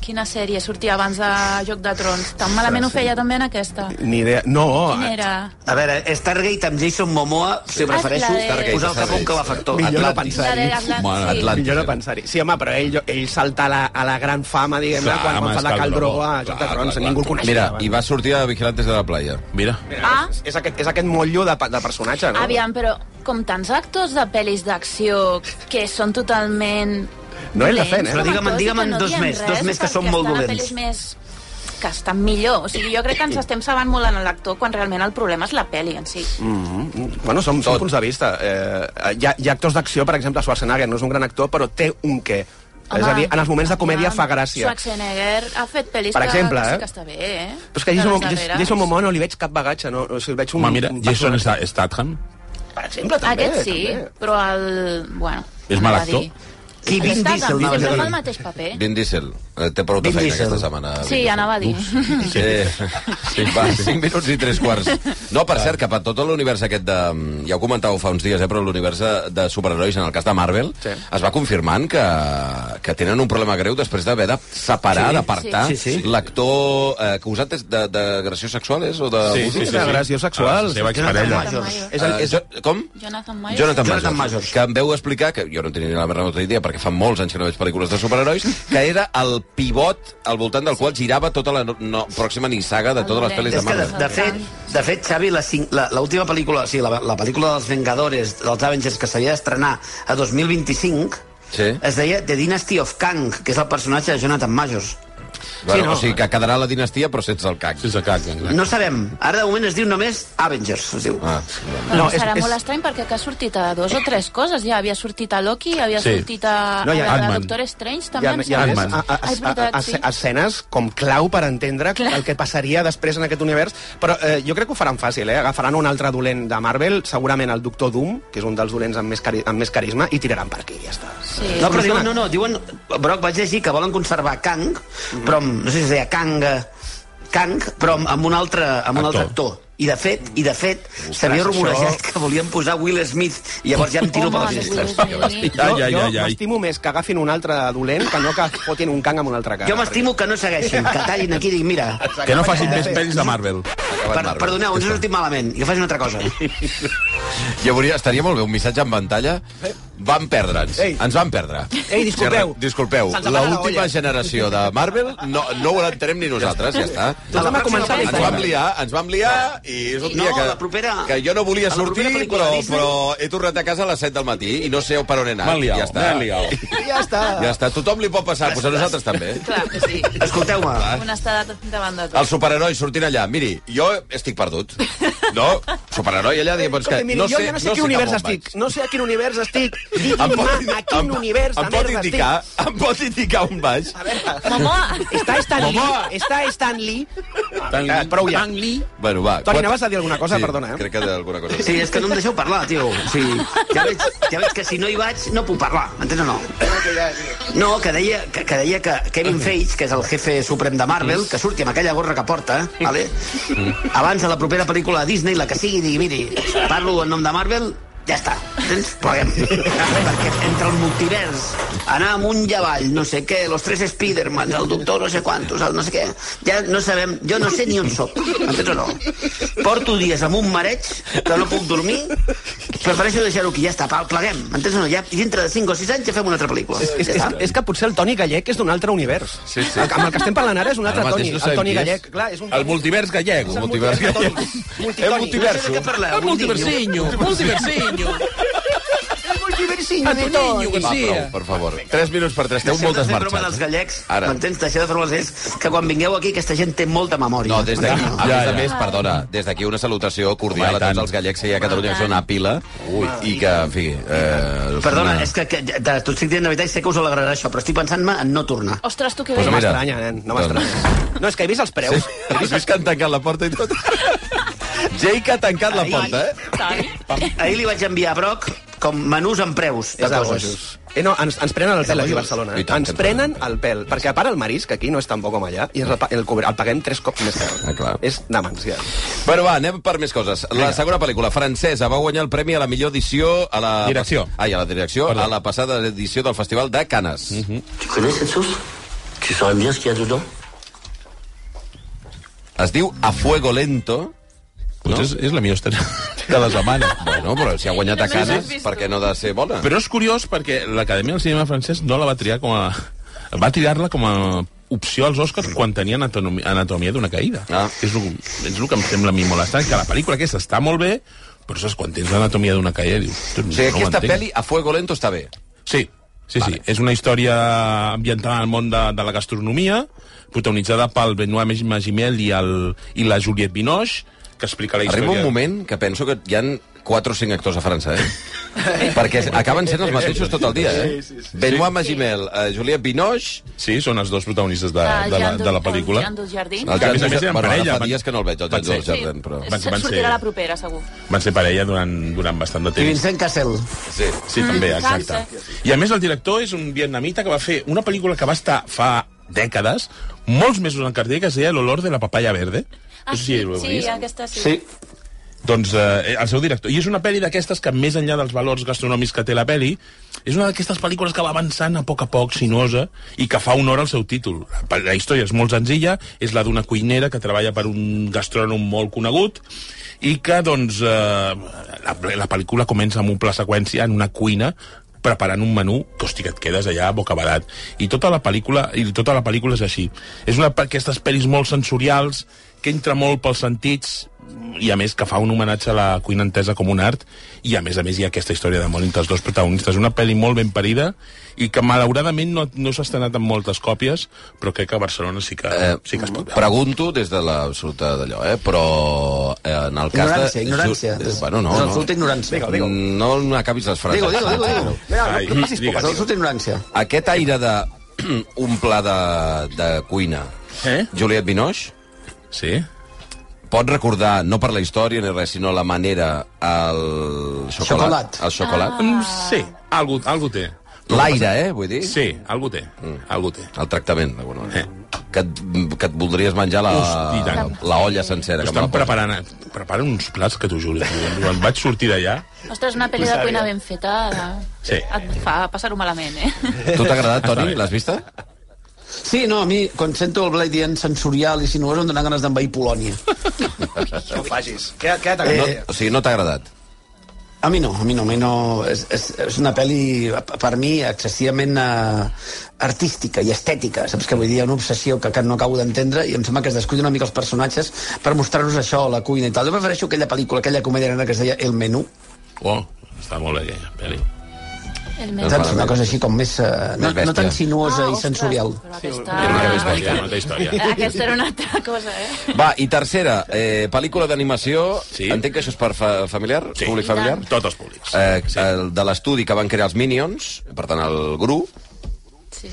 S4: Quina sèrie sortia abans de Joc de Trons? Tan malament ho feia també en aquesta.
S3: Ni idea. No,
S4: Quina era?
S6: A veure, Stargate amb Jason Momoa, si ho prefereixo,
S4: la de-
S6: posar el cap a un calefactor.
S3: millor no
S2: Atlantis.
S4: La
S3: pensar-hi.
S4: de
S2: Bueno,
S4: Atlantis.
S2: Atlantis.
S3: Millor no pensar-hi. Sí, home, però ell, ell salta a la, a la gran fama, diguem-ne,
S5: Clar,
S3: quan
S5: home,
S3: va
S5: és
S3: fer la
S5: Cal
S3: Caldrogo
S5: Drogo.
S3: a Joc
S5: Clar,
S3: de
S5: clar,
S3: Trons.
S5: clar.
S3: Ningú el coneixia.
S2: Mira,
S3: abans.
S2: i va sortir a Vigilantes de la Playa.
S5: Mira.
S4: Ah,
S3: És aquest, és aquest motllo de, pa- de personatge, no?
S4: aviam, però com tants actors de pel·lis d'acció que són totalment...
S3: No és la fe, eh?
S4: dolents com
S3: Però
S6: digue'm-
S4: actors i
S6: digue'm
S4: que no
S6: dos
S4: diuen
S6: més,
S4: res
S6: dos més que
S4: perquè
S6: són molt
S4: estan a
S6: dolents.
S4: pel·lis Més que estan millor. O sigui, jo crec que ens estem sabant molt en l'actor quan realment el problema és la pel·li en si.
S3: Mm-hmm. Bueno, som, som punts de vista. Eh, hi, ha, hi ha actors d'acció, per exemple, Schwarzenegger no és un gran actor, però té un què. és a dir, en els moments de comèdia
S4: home,
S3: fa gràcia.
S4: Schwarzenegger ha fet pel·lis
S3: Per
S4: que-
S3: exemple,
S4: que,
S3: eh?
S4: sí que està bé, eh?
S3: Però és que
S4: De
S3: Jason,
S4: les
S3: Momoa-
S4: darreres.
S3: Jason Momoa no li veig cap bagatge, no? O sigui, el veig un,
S5: Home, mira,
S3: un
S5: Jason
S3: personatge.
S5: Sta- Statham.
S3: Per exemple, també.
S4: Aquest sí,
S3: També.
S4: però el... Bueno,
S5: És mal actor?
S6: Qui Vin Diesel,
S4: no?
S6: anaves a
S4: Sempre fa el
S6: dir.
S4: mateix paper.
S2: Vin Diesel. Eh, Té prou de
S6: Vin
S2: feina
S6: Diesel.
S2: aquesta setmana. Vin
S4: Sí,
S2: Diesel.
S4: anava a dir.
S2: Sí. sí. Va, 5 minuts i 3 quarts. No, per cert, cap a tot l'univers aquest de... mm, Ja ho comentàveu fa uns dies, eh, però l'univers de- de superherois, en el cas de Marvel,
S3: Sí.
S2: sí. es va confirmant que, que tenen un problema greu després d'haver de separar,
S6: Sí,
S2: sí, d'apartar
S6: sí.
S2: sí,
S6: Sí,
S2: sí.
S6: sí.
S2: l'actor... Eh, que us és de, d'agressió sexual, és? O de...
S3: sí, sí. agressió sexual.
S5: La seva
S6: Jonathan
S5: exparella.
S6: Majors.
S4: Major.
S2: És el, és... Uh, com?
S4: Jonathan Major.
S2: Jonathan,
S6: Jonathan
S2: Majors,
S6: Majors.
S2: que em veu explicar, que jo no tenia ni la menor idea, perquè fa molts anys que no veig pel·lícules de superherois, que era el pivot al voltant del qual girava tota la no, no, pròxima nissaga de totes les pel·lis de
S6: És que, de,
S2: Marvel.
S6: de, fet, de fet, Xavi, la cin- la- l'última pel·lícula, o sigui, la, la pel·lícula dels Vengadores, dels Avengers, que s'havia d'estrenar a 2025,
S2: Sí.
S6: es deia The Dynasty of Kang, que és el personatge de Jonathan Majors.
S2: Bueno, sí,
S3: no.
S2: no. O sigui, que quedarà la dinastia, però sense el cac.
S5: Sense cac, exacte.
S6: No sabem. Ara, de moment, es diu només Avengers. Es diu.
S2: Ah,
S4: No,
S3: és-
S4: serà
S3: és-
S4: molt estrany perquè que ha sortit a dos o tres coses ja. Havia sortit a Loki, havia
S5: Sí.
S4: sortit a,
S3: No, hi ha
S4: a, a
S5: Ant-Man.
S4: Doctor Strange,
S3: Hi
S4: també.
S3: ha,
S4: em
S3: hi ha
S4: sembla.
S3: més,
S5: Ant-Man.
S3: a, a,
S4: Ai,
S3: a, a,
S4: veritat,
S3: a,
S4: sí.
S3: escenes com clau per entendre
S4: Clar.
S3: el que passaria després en aquest univers, però eh, jo crec que ho faran fàcil, eh? agafaran un altre dolent de Marvel, segurament el Doctor Doom, que és un dels dolents amb més, cari amb més carisma, i tiraran per aquí, ja està.
S4: Sí.
S6: No, però diuen, no, no, diuen... Broc, vaig llegir que volen conservar Kang,
S5: Mhm.
S6: però amb, no sé si es deia Kang... eh, Kang, però amb- amb un altre, amb un altre
S5: Actor.
S6: actor. I de fet, i de fet, s'havia rumorejat que volien posar Will Smith, i llavors ja em tiro per
S4: Home,
S6: les finestres.
S4: Will Smith.
S5: Ja, ja,
S3: jo
S5: ja,
S3: jo
S5: ja.
S3: m'estimo més que agafin un altre dolent que no que fotin un cang amb un altre cara.
S6: Jo m'estimo que no segueixin, que tallin aquí i diguin, mira,
S5: Que no facin més pel·lis de Marvel.
S6: per, perdoneu, ens ha sortit malament, i que facin una altra cosa.
S2: Ja hauria, estaria molt bé un missatge en pantalla. Van perdre'ns.
S3: Ei.
S2: Ens van perdre.
S3: Ei, disculpeu.
S2: Ja, disculpeu.
S3: Se'ns ha parat la
S2: L'última
S3: olla.
S2: generació de Marvel no, no ho entenem ni nosaltres, ja està.
S3: Doncs anem a començar
S2: Ens
S3: l'història.
S2: vam liar, ens vam liar i és un
S6: No,
S2: dia que,
S6: la propera-
S2: que jo no volia
S6: a la
S2: sortir,
S6: propera pel·lícula
S2: però,
S6: de Disney.
S2: però he tornat a casa a les 7 del matí i no sé per on he anat.
S5: M'han liat,
S2: ja està.
S5: m'han liat.
S3: Ja està.
S2: Ja està. Tothom li pot passar, doncs a nosaltres també.
S4: Clar que sí.
S6: Escolteu-me,
S4: Un està davant de tot.
S2: Els superherois sortint allà. Miri, jo estic perdut. No? Superheroi allà, dient, doncs que
S3: Escolta, miri,
S2: no
S3: jo
S2: sé,
S3: ja no sé
S2: no
S3: a quin univers
S2: cap on
S3: estic.
S2: vaig.
S3: No sé a quin univers estic.
S2: Em
S3: Digui'm
S2: pot,
S3: a quin
S2: em,
S3: univers de
S2: em pot
S3: merda
S2: indicar,
S3: estic.
S2: em pot indicar on vaig?
S3: A veure,
S4: Momoa!
S3: està Stan Lee,
S2: Momoa.
S3: està Stan Lee.
S5: Tan,
S3: Ah, prou ja.
S2: Eh, Bueno, va.
S3: Toni,
S2: quatre-
S3: anaves a dir alguna cosa?
S2: sí,
S3: Perdona, eh?
S2: Crec que d'alguna cosa.
S6: Sí, és que no em deixeu parlar, tio. Sí, ja, veig, ja veig que si no hi vaig no puc parlar, entens o no? No, que deia que, que, deia que Kevin Feige, que és el jefe suprem de Marvel, que surti amb aquella gorra que porta, vale? abans de la propera pel·lícula de Disney, la que sigui, digui, miri, parlo en nom de Marvel, ja està, entens? Pleguem. Perquè entre el multivers, anar amunt i avall, no sé què, los tres Spidermans, el doctor no sé quantos, el no sé què, ja no sabem, jo no sé ni on soc, entens o no? Porto dies amb un mareig que no puc dormir, prefereixo deixar-ho aquí, ja està, pal, pleguem, entens o no? Ja, dintre de 5 o 6 anys ja fem una altra pel·lícula.
S3: És,
S6: ja
S3: és,
S6: està.
S3: és que potser el Toni Gallec és d'un altre univers.
S2: Sí, sí.
S3: El, amb el que estem parlant ara és un altre
S2: Ara mateix
S3: Toni,
S2: no
S3: el
S2: sabem
S3: Toni
S2: qui és.
S3: Gallec. Clar, és un
S5: El multivers gallego.
S3: És el
S2: multivers Eh,
S3: gallec. Multitoni.
S2: El
S6: No sé de què
S2: multiverso.
S6: parleu,
S5: El multiversinyo, multiversinyo.
S3: Multiversiño de
S5: Antoninho
S3: Toni.
S2: Va, prou,
S5: García.
S2: per favor. 3 minuts per 3. Teu
S6: Deixeu
S2: moltes
S6: de fer broma dels
S2: marxes.
S6: gallecs,
S2: Ara.
S6: m'entens? Deixeu de fer bromes és que quan vingueu aquí aquesta gent té molta memòria.
S2: No, des
S3: Ah,
S2: d'aquí, a
S5: Ja,
S2: més a
S5: ja.
S2: més, perdona, des d'aquí una salutació cordial
S5: Home, i
S2: a tots
S5: tant.
S2: els gallecs que hi ha a Catalunya, que són a pila, i que, en fi... Eh,
S6: Perdona,
S2: una-
S6: és que, que de- t'ho estic dient de veritat i sé que us alegrarà això, però estic pensant-me en no tornar.
S4: Ostres, tu que
S2: Pues
S4: bé.
S3: No
S2: mira.
S3: m'estranya, nen, no m'estranya. Doncs No, és que he vist els preus.
S2: Sí, has vist que han tancat la porta i tot? Jake ha tancat la
S6: Ai.
S2: porta, eh?
S4: Toni.
S6: Ahir li vaig enviar a Broc com menús amb preus de
S3: És algo
S6: coses.
S3: just. Eh, no, ens, ens prenen el pèl aquí a Barcelona. Eh?
S2: I tant,
S3: Ens
S2: que ens
S3: prenen el pèl, perquè a part el marisc aquí no és tan bo com allà, i el, pa- el, cobre- el paguem tres cops més car.
S2: Ah, clar.
S3: És demencial.
S2: Bueno, va, anem per més coses. La segona pel·lícula francesa va guanyar el premi a la millor edició a la...
S5: Direcció.
S2: Ai, a la direcció,
S5: Perdó. Mhm.
S2: a la passada edició del Festival de Canes. Mm -hmm.
S9: Tu connais cette sauce Tu saurais me dire ce qu'il y a dedans
S2: Es diu A Fuego Lento.
S5: Potser és, és la millor estrena de la setmana.
S2: Bueno, però si ha guanyat a
S4: Sí, sí, sí.
S2: Canes, per què no ha de ser bona?
S5: Però és curiós perquè l'Acadèmia del Cinema Francès no la va triar com a... Va tirar-la com a opció als Oscars quan tenia anatomi- anatomia d'una caïda.
S2: Ah.
S5: Que És, el, és el que em sembla a mi molt estrany, que la pel·lícula aquesta està molt bé, però saps, quan tens l'anatomia d'una caïda dius... "Tu,
S2: O sigui,
S5: no ho
S2: aquesta
S5: entenc".
S2: pel·li, A Fuego Lento, està bé.
S5: Sí, sí, vale. sí. És una història ambientada al món de, de la gastronomia, protagonitzada pel Benoit Mag- Magimel i, el, i la Juliette Binoche, que explica la història...
S2: Arriba un moment que penso que hi han 4 o 5 actors a França, eh? Perquè acaben sent els mateixos tot el dia, eh? Sí, sí, sí. Benoit Magimel, eh, Juliette Binoche...
S5: Sí, són els dos protagonistes Eh, de,
S4: Ah,
S5: de, la,
S4: Jean
S5: de la
S4: Dujardin.
S5: pel·lícula.
S4: Jean Dujardin.
S2: El
S5: Que a més a
S2: Jan-
S5: més eren
S2: bueno, ara
S5: parella,
S2: Fa
S5: van-
S2: dies que no el veig, el
S5: van
S2: Jan
S5: ser-
S2: del Jardin, però...
S5: Van ser- van
S4: Sortirà
S5: ser-
S4: la propera, segur.
S5: Van ser parella durant, durant bastant de
S6: I
S5: temps.
S6: Vincent Cassel.
S2: Sí.
S5: Sí, també, exacte. I a més el director és un vietnamita que va fer una pel·lícula que va estar fa dècades, molts mesos en cartell, que es deia L'olor de la papaya verde.
S4: Ah,
S5: no sé si
S4: sí,
S5: ho heu
S4: sí,
S5: vist.
S4: aquesta sí.
S6: Sí.
S5: Doncs eh, el seu director. I és una pel·li d'aquestes que, més enllà dels valors gastronòmics que té la pel·li, és una d'aquestes pel·lícules que va avançant a poc a poc, sinuosa, i que fa honor al seu títol. La pel- La història és molt senzilla, és la d'una cuinera que treballa per un gastrònom molt conegut, i que, doncs, eh, la, la pel·lícula comença amb un pla seqüència en una cuina preparant un menú que, hosti, que et quedes allà bocabadat. I tota la pel·lícula, i tota la pel·lícula és així. És una d'aquestes pel·lis molt sensorials, que entra molt pels sentits, i a més que fa un homenatge a la cuina entesa com un art, i a més a més hi ha aquesta història d'amor entre els dos protagonistes. Una pel·li molt ben parida, i que malauradament no, no s'ha estrenat en moltes còpies, però crec que a Barcelona sí que,
S2: Eh,
S5: sí que es pot veure.
S2: Pregunto des de l'absoluta d'allò, eh? Però eh, en el cas
S6: Ignorància,
S2: de...
S6: ignorància.
S2: Ju- eh, Bueno, no,
S6: És
S2: no.
S6: absoluta ignorància.
S3: Vinga, vinga.
S2: No, no acabis les frases.
S6: Digue-ho, digue-ho, digue-ho.
S5: Ai,
S3: no facis
S5: digues,
S6: És
S5: digues.
S6: absoluta ignorància.
S2: Aquest aire de un pla de, de cuina.
S5: Eh?
S2: Juliette Binoche
S5: Sí?
S2: pot recordar, no per la història ni res, sinó la manera, el xocolat.
S6: Xocolat.
S2: El xocolat.
S5: Mm, sí, algú, algú té.
S2: L'aire, eh, Mm. vull dir.
S5: Sí, algú té. Algú té.
S2: El tractament, d'alguna manera. Que et, que et voldries menjar la,
S5: Hosti, i tant.
S2: la olla sencera. Que me la
S5: Estan
S2: posa.
S5: preparant, preparen uns plats que t'ho juro. Quan vaig sortir d'allà...
S4: Ostres, una pel·li de cuina ben feta
S5: Sí.
S4: et fa passar-ho malament, eh?
S2: Tu t'ha agradat, Toni? L'has vista?
S6: Sí, no, a mi, quan sento el Blai dient sensorial i sinuós, em donen ganes d'envair Polònia.
S3: No ho facis. Què, què
S5: Eh,
S3: t'ha
S2: No,
S3: agradat?
S2: o sigui, no t'ha agradat.
S6: A mi no, a mi no, a mi no. És, és, és una pel·li, per mi, excessivament eh, artística i estètica, saps què vull dir? Hi ha Una obsessió que, que no acabo d'entendre i em sembla que es descuida una mica els personatges per mostrar-nos això, la cuina i tal. Jo prefereixo aquella pel·lícula, aquella comèdia negra que es deia El Menú,
S5: Oh, està molt bé aquella pel·li.
S4: El
S2: El
S6: saps? Una
S2: Menú.
S6: cosa així com més... Eh, no,
S2: Més
S6: no tan
S2: bèstia.
S6: sinuosa ah, i sensorial.
S5: Ah,
S4: Aquesta...
S5: història, una altra història.
S4: aquesta era una altra cosa, eh?
S2: Va, i tercera, eh, pel·lícula d'animació.
S5: Sí.
S2: Entenc que això és per fa familiar, sí. públic familiar.
S5: Tots els públics.
S2: Eh, el de l'estudi que van crear els Minions, per tant, el GRU.
S4: Sí.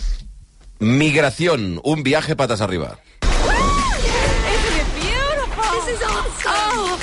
S2: Migración, un viaje patas arriba.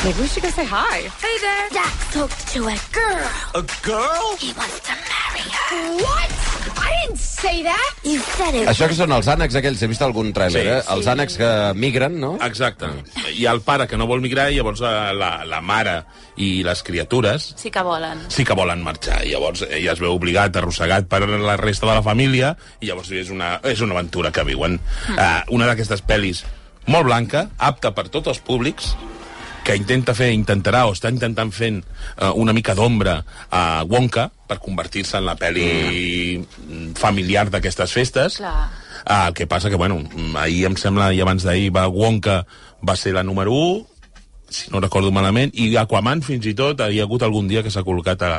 S10: Maybe we should go say hi.
S11: Hey there. Jack talked to a girl. A girl? He wants to marry her. What? I didn't say that. You said it.
S2: Això que són els ànecs aquells, he vist algun tràiler,
S5: Sí. Ah.
S2: eh? Els ànecs que migren, no?
S5: Exacte. Hi ha el pare que no vol migrar i llavors eh, la, la mare i les criatures
S4: Sí que volen.
S5: sí que volen marxar. I llavors ell es veu obligat, arrossegat per la resta de la família, i llavors és una, és una aventura que viuen. Uh, una d'aquestes pel·lis molt blanca, apta per tots els públics, que intenta fer, intentarà, o està intentant fent uh, una mica d'ombra a Wonka per convertir-se en la pel·li familiar d'aquestes festes.
S4: Clar.
S5: Ah, el que passa que, bueno, ahir em sembla, i abans d'ahir, va Wonka va ser la número 1, si no recordo malament, i Aquaman fins i tot hi ha hagut algun dia que s'ha col·locat a,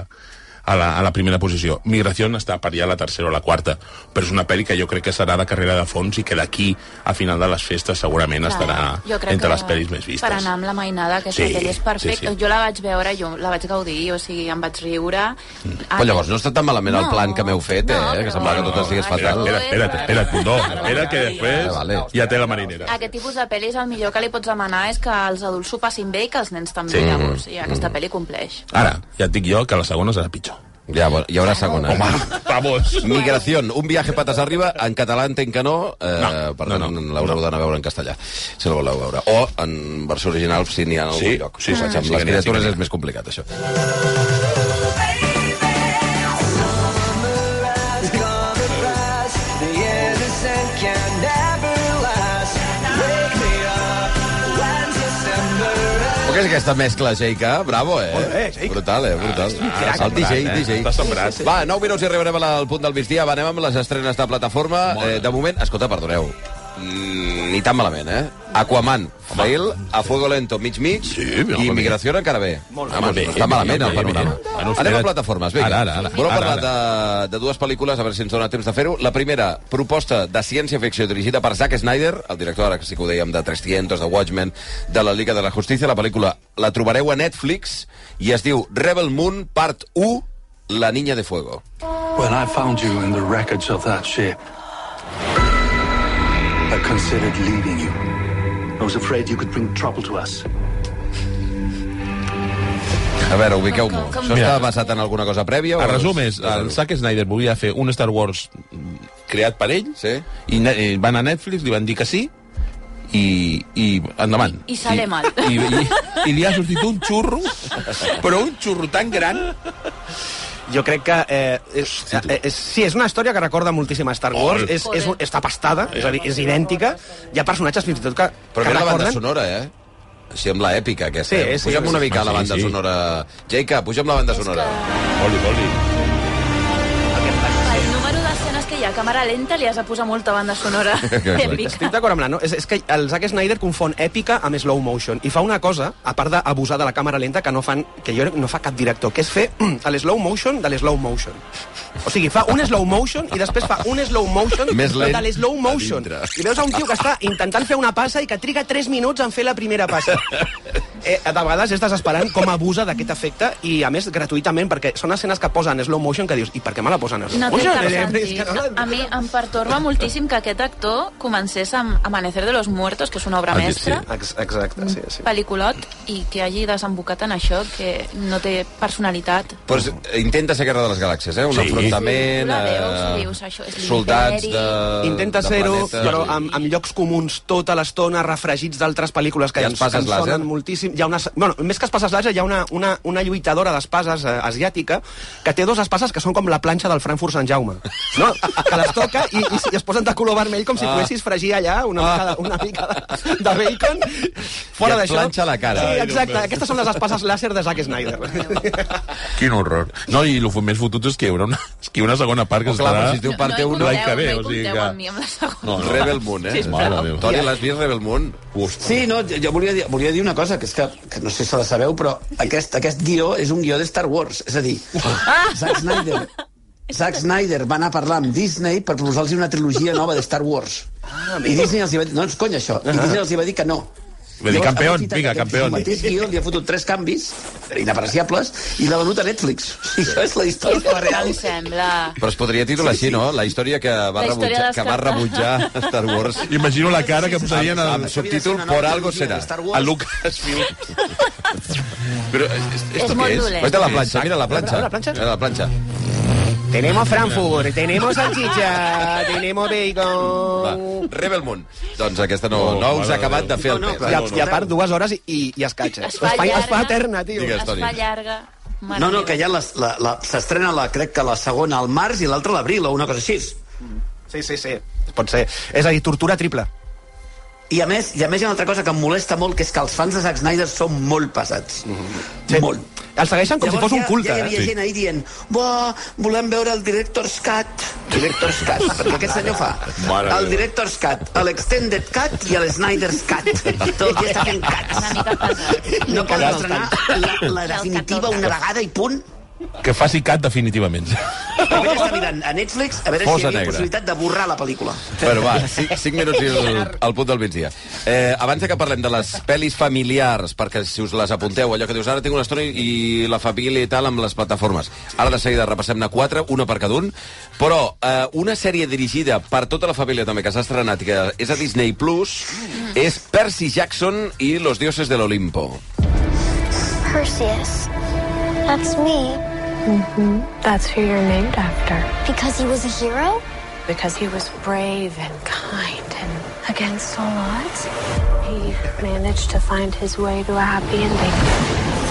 S5: a, la, a la primera posició. Migració està per allà a la tercera o la quarta, però és una pel·li que jo crec que serà de carrera de fons i que d'aquí a final de les festes segurament
S4: Clar, jo
S5: estarà
S4: crec
S5: entre
S4: que
S5: les pel·lis més vistes.
S4: Per anar amb la mainada, aquesta
S5: Sí,
S4: sí, pel·li és perfecta.
S5: sí,
S4: Sí,
S5: sí.
S4: sí. Jo la vaig veure, jo la vaig gaudir, o sigui, em vaig riure. Mm.
S2: Però llavors no està tan malament el plan que m'heu fet, eh? que semblava que tot estigués
S5: Espera,
S2: fatal.
S5: espera, espera, espera, Condó, espera, que després
S2: Ah, vale.
S5: ja té la marinera.
S4: Aquest tipus de pel·lis el millor que li pots demanar és que els adults s'ho passin bé i que els nens també,
S5: Sí.
S4: sí. llavors. I aquesta pel·li compleix.
S5: Ara, ja et dic jo que la segona serà pitjor.
S2: Ja, bo- hi haurà segona. eh?
S5: Vamos.
S2: Migración, un viaje patas arriba, en català entenc que no, eh,
S5: No,
S2: per
S5: no,
S2: tant
S5: no.
S2: l'haureu d'anar a veure en castellà, si la voleu veure. O en versió original, si n'hi ha en algun
S5: Sí,
S2: lloc.
S5: sí, sí,
S2: Vaig
S5: sí,
S2: amb
S5: sí que
S2: les
S5: n'hi ha, sí que
S2: criatures
S5: n'hi ha.
S2: és més complicat, això. Però què és aquesta mescla, JK? Bravo, eh?
S3: Molt bé, JK.
S2: Brutal,
S5: Ah,
S2: eh? Brutal.
S5: crac,
S2: el DJ,
S5: eh?
S2: DJ.
S5: Està sembrat.
S2: Va, 9 minuts i arribarem al punt del migdia. Va, anem amb les estrenes de plataforma. Eh, de moment, escolta, perdoneu, mm, ni tan malament, eh? Aquaman, fail, a fuego lento, mig-mig,
S5: però
S2: i
S5: home,
S2: immigració encara bé.
S3: Molt
S2: Home,
S5: bé,
S2: no està
S5: bé,
S2: malament
S5: bé,
S2: el
S5: bé,
S2: panorama.
S5: bé. Bueno,
S2: Anem a
S5: espera't.
S2: plataformes, vinga.
S5: Ara, ara, ara.
S2: Voleu
S5: Ara,
S2: parlar
S5: ara.
S2: de de, de dues pel·lícules, a veure si ens dona temps de fer-ho. La primera, proposta de ciència-ficció dirigida per Zack Snyder, el director, ara que sí que ho dèiem, de 300, de Watchmen, de la Liga de la Justícia. La pel·lícula la trobareu a Netflix i es diu Rebel Moon, part 1, La Niña de Fuego.
S8: When I found you in the wreckage of that ship, I considered leaving you. I was afraid you could bring trouble to us.
S2: A veure, ubiqueu-m'ho.
S4: Com- com-
S2: Això està basat en alguna cosa prèvia?
S5: A
S2: o-
S5: resum és, el Zack Snyder volia fer un Star Wars mm, creat per ell,
S2: Sí.
S5: i ne- i van a Netflix, li van dir que sí, i, i endavant.
S4: I- i sale mal.
S5: I, i, I li ha sortit un xurro, però un xurro tan gran...
S3: Jo crec que... Eh, és, eh, és, sí, és una història que recorda moltíssim a Star Wars.
S5: Molt.
S3: És, és, un- està pastada, és a dir, és idèntica. Hi ha personatges fins i tot que,
S2: Però
S3: que
S2: mira la banda
S3: recorden...
S2: sonora, eh? Sembla èpica, aquesta.
S3: Sí,
S2: eh?
S3: sí,
S2: Puja'm
S3: sí,
S2: una
S3: sí.
S2: mica a la
S5: Sí,
S2: banda
S5: sí.
S2: sonora. Jake, puja'm la banda sonora.
S5: Oli, oli.
S4: El número d'escenes que hi ha a càmera lenta li has de posar molta banda sonora èpica.
S3: Estic d'acord amb la... No? És, és que el Zack Snyder confon èpica amb slow motion i fa una cosa, a part d'abusar de la càmera lenta, que no fan que jo crec que no fa cap director, que és fer el slow motion de l'slow motion. O sigui, fa un slow motion i després fa un slow motion
S2: Més lent
S3: de l'slow motion.
S2: a dintre.
S3: I veus a un tio que està intentant fer una passa i que triga 3 minuts en fer la primera passa. Eh, de vegades és desesperant com abusa d'aquest efecte i, a més, gratuïtament, perquè són escenes que posen slow motion que dius, i per què me la posen en slow
S4: No té
S3: motion?
S4: cap
S3: Eh, eh,
S4: sentit.
S3: és que no la-
S4: A mi em pertorba moltíssim que aquest actor comencés amb Amanecer de los Muertos, que és una obra
S5: Ah, sí,
S4: mestra,
S3: Ex- Exacte, sí, sí.
S4: pel·liculot, i que hagi desembocat en això, que no té personalitat.
S2: Pues, eh, intenta ser Guerra de les Galàxies, eh? Un
S5: Sí.
S2: afrontament...
S4: La veus,
S2: eh,
S4: dius, això és
S2: soldats de...
S4: l'imperi.
S3: Intenta
S2: de
S3: ser-ho,
S2: planetes.
S3: però amb, amb llocs comuns tota l'estona, refregits d'altres pel·lícules que
S2: Hi ha
S3: ens, que
S2: espases
S3: ens
S2: làser?
S3: sonen moltíssim. Hi ha una, bueno, més que espases làser, hi ha una, una, una lluitadora d'espases eh, asiàtica que té dos espases que són com la planxa del Frankfurt Sant Jaume, no? que les toca i, i, i es posen de color vermell com si
S2: Ah.
S3: poguessis fregir allà una mica, de, una mica de, de bacon. Fora
S2: I et
S3: d'això...
S2: planxa la cara.
S3: Sí,
S2: Ai,
S3: exacte. Aquestes són les espases làser de Zack Snyder.
S5: Quin horror. No, i el més fotut és que hi haurà una, és que hi ha una segona part que
S2: Oh, clar,
S5: estarà...
S2: però si es diu
S4: No-
S2: part
S4: no hi
S2: 1
S4: compteu,
S5: l'any que ve,
S4: no hi
S5: o sigui
S4: compteu
S5: que-
S4: amb mi, amb la segona.
S5: No, no.
S2: Rebel Moon, eh?
S5: Sisplau. Mare meva.
S2: Toni, l'has vist, Rebel Moon?
S6: Sí, no, jo volia dir, volia dir una cosa, que és que, que no sé si la sabeu, però aquest, aquest guió és un guió de Star Wars. És a dir,
S4: Ah!
S6: Zack Snyder, Zack Snyder va anar a parlar amb Disney per proposar-los una trilogia nova de Star Wars.
S4: Ah,
S6: I Disney els hi va dir, no ens cony això, i Disney els hi va dir que no.
S5: Va dir, "Campeón, vinga, campeón."
S6: El mateix guió li ha fotut tres canvis, inapreciables, i l'ha venut a Netflix. I això és la història real.
S4: Em sembla...
S2: Però es podria titular així, no? La història que va,
S4: La història
S2: rebutjar, que va
S4: descartada.
S2: rebutjar Star Wars.
S5: Imagino la cara que posarien a,
S2: amb subtítol Por algo será.
S5: a Lucas. Però, és, és,
S4: És molt dolent.
S2: Vaig a la planxa, mira la planxa.
S3: Mira la planxa.
S2: Mira la planxa.
S3: tenemos Frankfurt, tenemos salchicha, tenemos
S2: Va,
S3: bacon...
S2: Rebel Moon. Doncs aquesta no,
S5: Oh,
S2: no us ha
S5: mare
S2: acabat de
S5: de
S2: fer el
S6: No, no,
S2: pes.
S6: clar.
S3: I, a, I a part, dues hores i, i, i es catxa.
S4: Es fa eh?
S3: es fa
S4: llarga.
S3: eterna, tio.
S2: Digues.
S4: Es
S2: Toni.
S4: fa llarga. Mare
S6: No, no,
S4: meva.
S6: que ja les- la- la- s'estrena, la, crec que la segona al març i l'altra a l'abril, o una cosa així.
S3: Sí, sí, sí. Pot ser. És a dir, tortura triple.
S6: I a, més, I a més hi ha una altra cosa que em molesta molt, que és que els fans de Zack Snyder són molt pesats.
S3: Sí.
S6: Molt.
S3: El segueixen com si fos un culte.
S6: Ja, ja hi havia
S5: eh?
S6: gent ahir dient Buah, volem veure el Director's Cut. Director's Cut, perquè aquest senyor fa
S5: Mare
S6: el
S5: meva.
S6: Director's Cut, l'Extended Cut i el Snyder's Cut. Tot el dia està fent
S4: Una mica
S6: cuts.
S4: pesat.
S6: No cal estrenar la, la definitiva una vegada i punt.
S5: Que faci cat definitivament.
S6: Només està mirant a Netflix a veure
S2: Fosa
S6: si hi
S2: negra.
S6: havia possibilitat de borrar la pel·lícula.
S2: Bueno, va, 5 minuts i el, al punt del migdia. Eh, abans de que parlem de les pel·lis familiars, perquè si us les apunteu, allò que dius, ara tinc una estona i la família i tal amb les plataformes. Ara de seguida repassem-ne quatre, una per cada un, però eh, una sèrie dirigida per tota la família també, que s'ha estrenat i que és a Disney+, Plus, és Percy Jackson i los dioses de l'Olimpo.
S11: Perseus. That's me.
S10: hmm That's who you're named after.
S11: Because he was a hero?
S10: Because he was brave and kind and against all odds, he managed to find his way to a happy ending.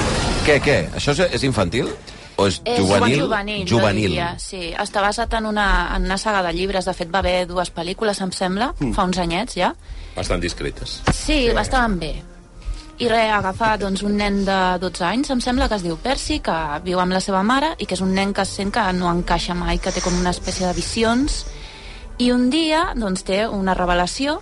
S2: Què, què? Això és, és infantil? O és,
S4: És
S2: juvenil?
S4: juvenil,
S2: juvenil.
S4: jo diria, sí. Està basat en una, en una saga de llibres. De fet, va haver dues pel·lícules, em sembla,
S5: Mm.
S4: mm. fa uns anyets ja.
S5: Bastant discretes.
S4: Sí, sí. bastant bé. I res, agafar doncs, un nen de 12 anys, em sembla que es diu Percy, que viu amb la seva mare i que és un nen que sent que no encaixa mai, que té com una espècie de visions. I un dia doncs, té una revelació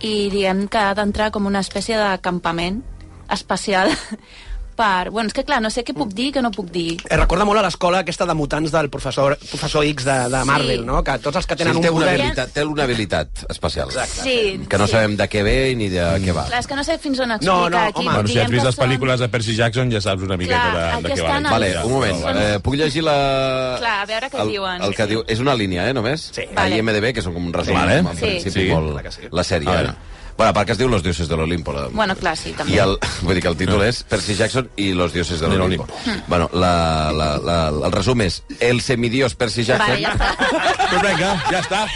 S4: i diem que ha d'entrar com una espècie de campament espacial per... Bueno, és que clar, no sé què puc dir i què no puc dir.
S3: Eh, recorda molt a l'escola aquesta de mutants del professor, professor X de, de
S4: Sí.
S3: Marvel, no? Que tots els que tenen
S2: sí, té
S3: un
S2: una
S3: poder...
S2: habilitat, té una habilitat especial.
S4: Sí,
S2: Que no
S4: sí.
S2: sabem de què ve ni de
S3: Mm.
S2: què va.
S4: Clar, és que no sé fins on explicar aquí.
S5: bueno, si
S4: diguem
S5: has vist
S4: que
S5: les pel·lícules de Percy Jackson ja saps una miqueta
S4: Clar,
S5: de, de què
S4: aquestes
S5: va.
S4: han-
S2: Vale, un moment.
S4: Són-
S2: Eh, puc llegir la...
S4: Clar, a veure què
S2: el,
S4: diuen.
S2: El que diu... És una línia, eh, només? Sí. A
S4: Vale.
S2: IMDB, que són com un resum,
S5: Vale.
S2: en
S4: Sí.
S2: principi,
S5: Sí.
S2: molt... La sèrie, eh? Bueno, a part que es diu Los dioses de l'Olimpo. La...
S4: Bueno, clar, sí, també.
S2: I el, vull dir que el títol és Percy Jackson i los dioses de l'Olimpo. Bueno, la, la, la, el resum és El semidios Percy Jackson
S4: Vale, ja està.
S5: Pues venga, Doncs ja està.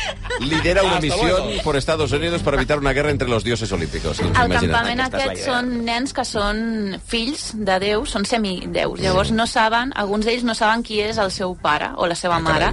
S2: lidera una
S5: Hasta
S2: misión
S5: luego.
S2: por Estados Unidos para evitar una guerra entre los dioses olímpicos.
S4: El campament aquest són nens que són fills de Déu, són semideus. Llavors no saben, alguns d'ells no saben qui és el seu pare o la seva mare,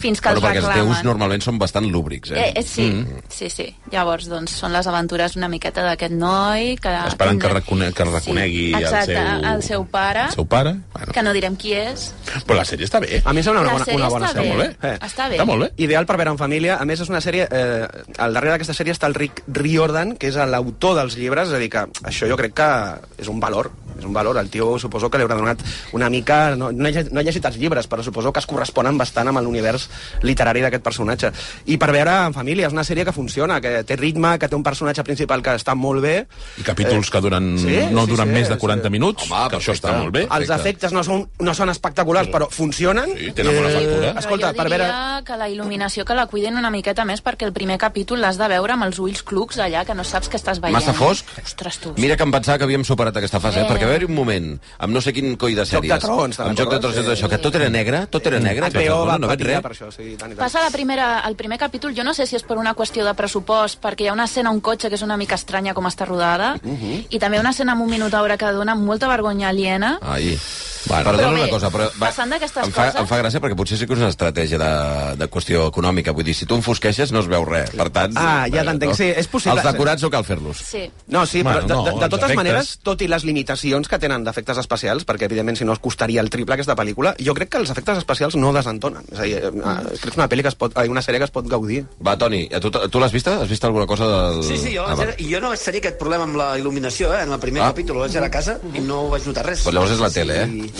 S4: fins que
S2: Ah, Mm. Bueno,
S4: els
S2: perquè els
S4: reclamen.
S2: déus normalment són bastant lúbrics, eh?
S4: Eh, eh, sí, sí, sí. Llavors, doncs, són les aventures una miqueta d'aquest noi que...
S5: Esperant que, recone que reconegui
S4: Ah, Exacte,
S5: el, seu,
S4: el seu pare,
S5: el seu pare.
S4: que no direm qui és.
S5: Però la sèrie està bé.
S3: A mi em sembla una
S4: La
S3: bona,
S4: sèrie
S3: una bona
S4: està
S3: sèrie. Eh.
S4: bé. Molt bé. Està bé.
S5: Està molt bé.
S3: Ideal per veure en família. A més, és una sèrie... Eh, al darrere d'aquesta sèrie està el Rick Riordan, que és l'autor dels llibres. És a dir, que això jo crec que és un valor. És un valor. El tio suposo que li haurà donat una mica... No, no, he, lleg- no he llegit els llibres, però suposo que es corresponen bastant amb l'univers literari d'aquest personatge. I per veure en família, és una sèrie que funciona, que té ritme, que té un personatge principal que està molt bé.
S5: I capítols que duren,
S3: sí,
S5: no
S3: sí,
S5: duren
S3: sí,
S5: més de
S3: sí.
S5: 40 minuts,
S2: Home,
S5: que això
S2: perfecte.
S5: està molt bé.
S3: Els efectes no són, no són espectaculars, però funcionen.
S5: Sí, tenen bona factura.
S3: Eh, escolta,
S4: Però
S3: per
S4: jo diria
S3: veure...
S4: que la il·luminació que la cuiden una miqueta més perquè el primer capítol l'has de veure amb els ulls clucs allà, que no saps què estàs veient.
S2: Massa fosc?
S4: Ostres, tu.
S2: Mira que em pensava que havíem superat aquesta fase, eh?
S4: Eh.
S2: perquè va haver-hi un moment, amb no sé quin coi de
S3: Joc de
S2: sèries...
S3: Trons, te'n
S2: Amb Joc de Trons,
S3: recordes?
S2: tot això, que tot era negre, tot era negre. que
S3: HBO
S2: no,
S3: Mm. va
S2: no veig
S3: patir
S2: res.
S3: per això, sí, i tant, i tant.
S4: Passa la primera, el primer capítol, jo no sé si és per una qüestió de pressupost, perquè hi ha una escena a un cotxe que és una mica estranya com està rodada, i també una escena amb un minotaure que dona molta vergonya aliena.
S2: Ai. Bueno, Perdona
S4: Però bé,
S2: una cosa, però...
S4: passant d'aquestes
S2: em fa,
S4: coses-
S2: Em fa gràcia perquè potser sí que és una estratègia de, de qüestió econòmica. Vull dir, si tu enfosqueixes no es veu res. Per tant...
S3: Ah, ja t'entenc, sí, és possible.
S2: Els decorats no cal fer-los.
S4: Sí.
S3: No, sí,
S5: Bueno,
S3: però de,
S5: no,
S3: de, de
S5: els
S3: totes
S5: efectes-
S3: maneres, tot i les limitacions que tenen d'efectes especials, perquè evidentment si no es costaria el triple aquesta pel·lícula, jo crec que els efectes especials no desentonen. És a dir, eh, eh, crec que és una pel·li que es pot, ai, una sèrie que es pot gaudir.
S2: Va, Toni, a tu, tu l'has vista? Has vist alguna cosa del...
S6: Sí, sí, jo,
S2: Ah,
S6: vaig
S2: va.
S6: veure- jo no vaig tenir aquest problema amb la il·luminació, eh? En el primer
S2: Ah.
S6: ah. capítol vaig anar a casa i no vaig notar res.
S2: Però llavors és la tele, eh?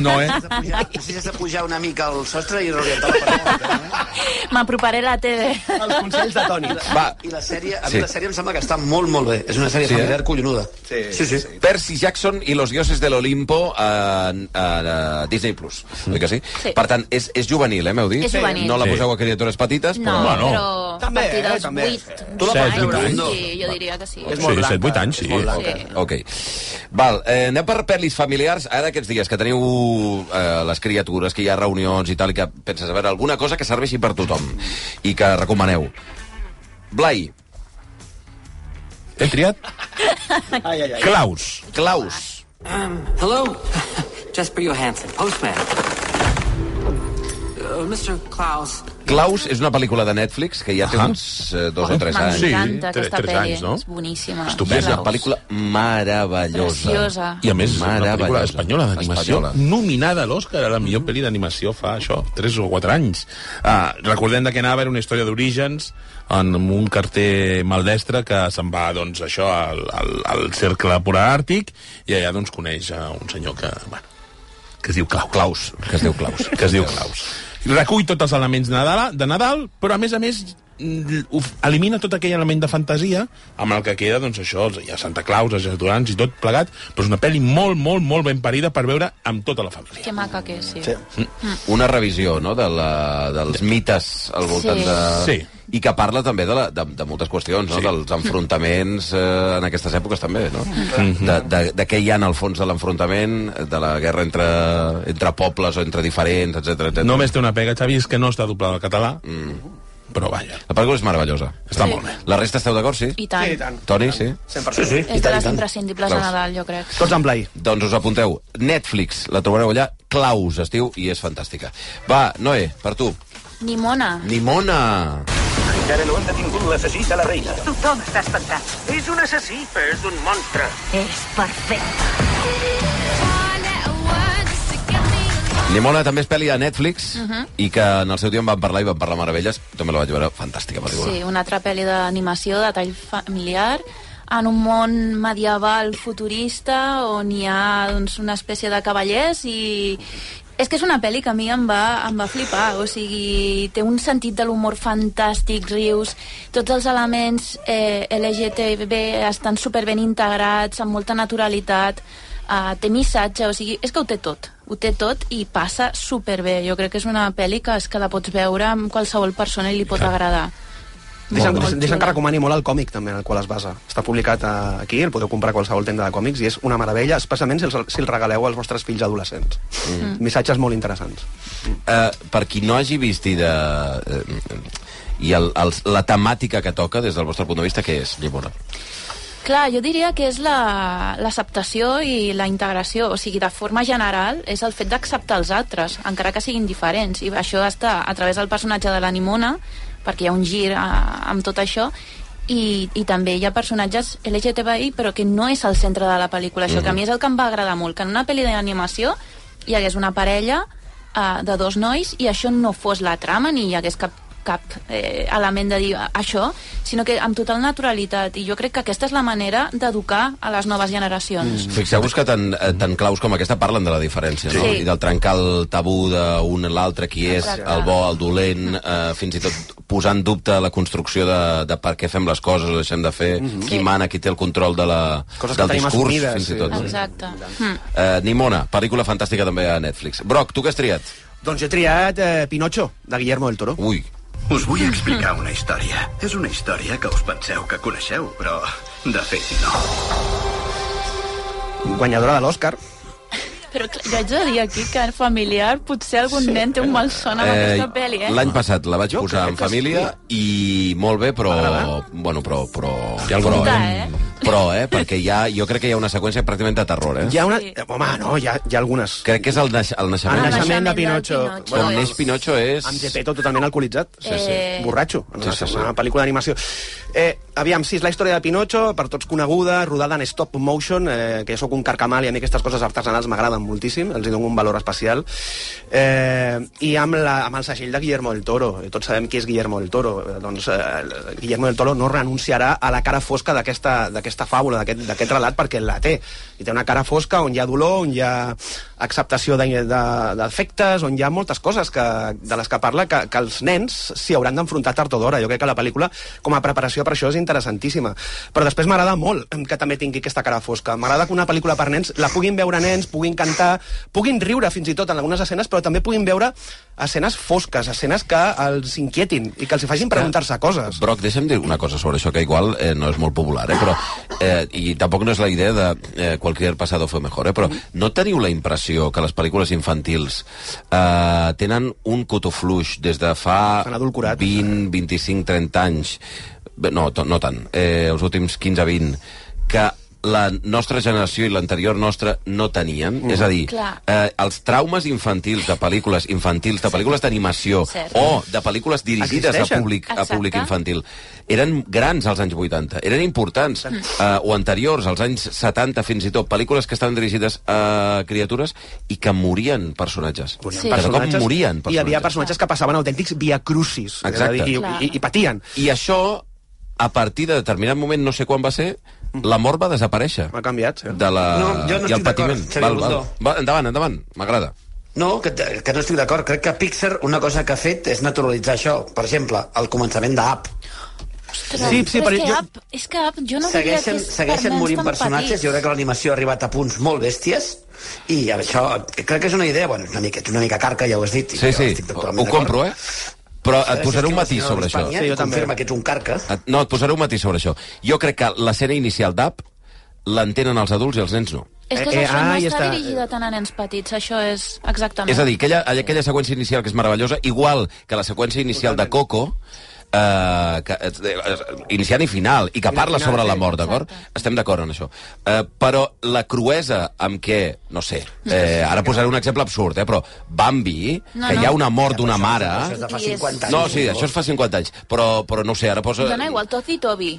S5: No, eh?
S6: Has de pujar, has de pujar una mica al sostre i reorientar la paraula.
S4: M'aproparé a la TV.
S3: Els consells de Toni.
S2: Va,
S6: eh. I la sèrie, a
S2: Sí.
S6: mi la sèrie em sembla que està molt, molt bé. És una sèrie
S2: Sí, eh?
S6: familiar collonuda.
S3: Sí,
S6: sí. sí.
S2: Percy Jackson i los dioses de l'Olimpo a, a, a Disney+. Plus. Oi que sí?
S4: Sí.
S2: Per tant, és, és juvenil, eh, m'heu dit?
S4: És juvenil.
S2: No la
S5: Sí.
S2: poseu a criatures petites,
S4: No,
S2: però...
S5: bueno.
S4: però
S3: També,
S4: a partir
S3: eh,
S4: dels
S3: també.
S4: 8,
S6: Tu la
S5: Set,
S6: pots veure,
S5: vuit
S6: no?
S4: sí, jo diria que sí.
S3: És molt
S5: Sí,
S3: blanca.
S5: 7-8 anys, sí.
S3: És molt blanca.
S4: Sí.
S2: Ok. Val, eh, anem per pel·lis familiars. Ara aquests dies que teniu eh, les criatures, que hi ha reunions i tal, i que penses, a veure, alguna cosa que serveixi per tothom i que recomaneu. Blai,
S5: He triat
S3: Ai, ai, ai.
S5: Klaus.
S2: Klaus,
S9: Um, hello. Jesper Johansson, postman. Uh, Mr. Klaus.
S2: Klaus és una pel·lícula de Netflix que ja té
S5: Ahà.
S2: uns eh, dos o tres anys.
S5: Sí,
S4: M'encanta
S5: tres-
S4: aquesta
S5: tres
S4: pel·li,
S5: anys, no?
S4: és boníssima.
S2: És
S5: Estupenda.
S2: una pel·lícula meravellosa.
S4: Preciosa.
S5: I a més, és una
S2: Meravellosa.
S5: pel·lícula espanyola d'animació
S2: Espanyola.
S5: nominada a l'Oscar a la millor pel·li d'animació fa això, 3 o 4 anys. Uh, recordem de què anava, era una història d'orígens en amb un carter maldestre que se'n va, doncs, això, al, al, al cercle polar àrtic i allà, doncs, coneix a un senyor que, bueno, que es diu Klaus. Klaus.
S2: Que es diu Klaus.
S5: Que es diu Klaus. Recull tots els elements Nadal, de Nadal, però a més a més mm, ho f- elimina tot aquell element de fantasia amb el que queda, doncs això, els- hi ha Santa Claus, els Durants i tot plegat, però és una pel·li molt, molt, molt ben parida per veure amb tota la família.
S4: Que maca que és, sí.
S2: Sí. Mm. Una revisió, no?, de la, dels mites al voltant
S4: Sí.
S2: de...
S5: Sí.
S2: I que parla també de, la, de, de moltes qüestions, no?,
S5: Sí.
S2: dels enfrontaments eh, en aquestes èpoques també, no?
S5: Mm-hmm.
S2: De, de, de què hi ha en el fons de l'enfrontament, de la guerra entre, entre pobles o entre diferents, etc etc.
S5: Només té una pega, Xavi, és que no està doblada al català, però vaja.
S2: La pel·lícula és meravellosa.
S5: Està
S4: Sí.
S5: molt bé.
S2: La resta esteu d'acord, sí?
S4: I tant.
S3: Sí, i tant.
S2: Toni, sí?
S3: 100%.
S6: Sí, sí, i
S4: És de
S6: tant, i
S4: les
S6: tant.
S4: imprescindibles a
S2: Claus.
S4: Nadal, jo crec.
S3: Tots amb Blai.
S2: Doncs us apunteu. Netflix, la trobareu allà, Claus es diu, i és fantàstica. Va, Noé, per tu.
S4: Ni mona.
S2: Nimona!
S8: Encara no hem detingut l'assassí de la reina.
S9: Tothom està espantat. És un assassí. És un monstre.
S11: És perfecte.
S2: Nimona també és pel·li a Netflix uh
S4: Mhm.
S2: -huh. i que en el seu dia en van parlar i van parlar meravelles. També la vaig veure fantàstica pel·lícula.
S4: Sí, una altra pel·li d'animació de tall familiar en un món medieval futurista on hi ha doncs, una espècie de cavallers i és que és una pel·li que a mi em va, em va flipar, o sigui, té un sentit de l'humor fantàstic, rius, tots els elements eh, LGTB estan superben integrats, amb molta naturalitat, eh, té missatge, o sigui, és que ho té tot, ho té tot i passa superbé. Jo crec que és una pel·li que, és que la pots veure amb qualsevol persona i li pot agradar.
S3: Deixa'm,
S4: Molt bé.
S3: deixa'm, deixa'm que recomani molt el còmic també en el qual es basa. Està publicat eh, aquí, el podeu comprar a qualsevol tenda de còmics i és una meravella, especialment si, els, si el regaleu als vostres fills adolescents. Mm. Missatges molt interessants.
S2: Eh, per qui no hagi vist i de... eh, i el, el, la temàtica que toca des del vostre punt de vista, què és, Llimona?
S4: Clar, jo diria que és la- l'acceptació la, i la integració. O sigui, de forma general, és el fet d'acceptar els altres, encara que siguin diferents. I això està a través del personatge de l'Animona, perquè hi ha un gir eh, amb tot això, i, i també hi ha personatges LGTBI, però que no és el centre de la pel·lícula. Això que a mi és el que em va agradar molt, que en una pel·li d'animació hi hagués una parella eh, de dos nois i això no fos la trama ni hi hagués cap cap eh, element de dir això, sinó que amb total naturalitat. I jo crec que aquesta és la manera d'educar a les noves generacions.
S2: Fixeu-vos que tant, eh, tant Claus com aquesta parlen de la diferència, no?
S4: Sí.
S2: I del trencar el tabú d'un a l'altre, qui és
S4: Exacte.
S2: el bo, el dolent, eh, fins i tot posar en dubte la construcció de, de per què fem les coses, o deixem de fer, qui
S4: Sí.
S2: mana, qui té el control de la,
S3: Mhm. Coses que
S2: del
S3: tenim
S2: discurs,
S3: assumides,
S2: fins i
S3: sí.
S2: tot. no?
S4: Exacte. Mm.
S2: Eh, Nimona, pel·lícula fantàstica també a Netflix. Broc, tu què has triat?
S3: Doncs jo he triat eh, Pinocho, de Guillermo del Toro.
S2: Ui,
S12: Us vull explicar una història. És una història que us penseu que coneixeu, però de fet no.
S5: Uh.
S3: Guanyadora de l'Oscar.
S4: Però clar, jo haig de dir aquí que familiar potser algun sí. nen té un mal son amb eh, aquesta pel·li, eh?
S2: l'any passat la vaig
S3: Jo
S2: posar
S3: crec
S2: en
S3: que
S2: família i molt bé, però... Bueno, però... però hi ha
S5: algun
S2: però,
S4: moment.
S2: eh? però, eh? Perquè hi ha, jo crec que hi ha una seqüència pràcticament de terror, eh?
S3: Hi ha una...
S4: Sí.
S3: Home, no, hi ha, hi ha algunes.
S2: Crec que és el, naix el
S3: El
S2: naixement.
S4: Ah,
S3: naixement de
S4: del
S3: Pinocho.
S4: Pinocho.
S2: Com
S4: és-
S2: neix Pinocho és...
S3: Amb Gepetto totalment alcoholitzat.
S4: Sí, sí. Eh.
S3: Borratxo.
S2: Sí,
S3: Una,
S2: sí, sí.
S3: una pel·lícula d'animació. Eh, aviam, sí, és la història de Pinocho, per tots coneguda, rodada en stop motion, eh, que jo sóc un carcamal i a mi aquestes coses artesanals m'agraden moltíssim, els hi dono un valor especial. Eh, I amb, la, amb el segell de Guillermo del Toro. Eh, Tots sabem qui és Guillermo del Toro. Eh, doncs eh, el- Guillermo del Toro no renunciarà a la cara fosca d'aquesta d'aquesta fàbula, d'aquest d'aquest relat, perquè la té. I té una cara fosca on hi ha dolor, on hi ha acceptació de- de- d'afectes, on hi ha moltes coses que, de les que parla que, que els nens s'hi hauran d'enfrontar tard o d'hora. Jo crec que la pel·lícula, com a preparació per això, és interessantíssima. Però després m'agrada molt que també tingui aquesta cara fosca. M'agrada que una pel·lícula per nens la puguin veure nens, puguin cantar, puguin riure fins i tot en algunes escenes, però també puguin veure escenes fosques, escenes que els inquietin i que els hi facin preguntar-se coses.
S2: Broc, deixa'm dir una cosa sobre això, que igual eh, no és molt popular, eh, però, eh, i tampoc no és la idea de eh, qualsevol passado fue mejor, eh, però no teniu la impressió que les pel·lícules infantils eh, tenen un cotó fluix des de fa
S3: S'han edulcorat.
S2: 20, 25, 30 anys, Bé, no, to- no tant, eh, els últims 15, 20, que la nostra generació i l'anterior nostra no tenien, mm. és a dir,
S4: Clar.
S2: eh, els traumes infantils de pel·lícules infantils, de pel·lícules d'animació
S4: Cert.
S2: o de pel·lícules dirigides a
S3: Existeixen.
S2: públic, a
S4: Exacte.
S2: públic infantil infantil eren grans als anys 80, eren importants, eh, o anteriors, als anys 70 fins i tot, pel·lícules que estaven dirigides a criatures i que morien personatges.
S3: Morien
S4: Sí.
S2: Cada cop morien
S3: I hi havia
S2: personatges.
S3: personatges que passaven autèntics via crucis. és a dir, i,
S2: Exacte.
S3: i, I patien.
S2: I això, a partir de determinat moment, no sé quan va ser, la mort va desaparèixer.
S3: Ha canviat, sí.
S2: De la...
S6: No, Mm. jo no
S2: I el
S6: estic d'acord,
S2: patiment.
S6: Xavier
S2: Val, val.
S6: Bundó.
S2: Va, endavant, endavant, m'agrada.
S6: No, que, que no estic d'acord. Crec que Pixar una cosa que ha fet és naturalitzar això. Per exemple, el començament d'App.
S4: Sí, sí, però, és, que jo... Up, és que Up, jo no diria que
S6: segueixen,
S4: és per
S6: segueixen
S4: nens
S6: morint
S4: tan
S6: personatges,
S4: petits.
S6: jo crec que l'animació ha arribat a punts molt bèsties, i això crec que és una idea, bueno, és una mica, és una mica carca, ja ho has dit. i
S2: Sí,
S6: jo
S2: sí,
S6: estic
S2: ho
S6: totalment d'acord.
S2: compro, eh? Però et posaré un matí
S6: Si no,
S2: sobre això.
S6: Espanya Confirma que ets un carca.
S2: Et- No, et posaré un matí sobre això. Jo crec que l'escena inicial d'App l'entenen els adults i els nens no.
S4: És que és això, no està, dirigida tant a nens petits, això és exactament...
S2: És a dir, aquella, aquella seqüència inicial que és meravellosa, igual que la seqüència inicial de Coco, Uh, que, eh, eh, iniciant i final i que parla
S13: final,
S2: sobre
S13: sí.
S2: la mort, d'acord? Estem d'acord en això uh, però la cruesa amb què no sé, eh, ara posaré un exemple absurd eh, però Bambi
S4: No,
S2: que
S4: no.
S2: hi ha una mort d'una mare eh?
S4: això és de fa I és- 50
S2: no,
S4: anys,
S2: sí,
S4: no?
S2: això és fa 50 anys però, però no ho sé, ara posa
S4: Dona igual, Toz i Toby.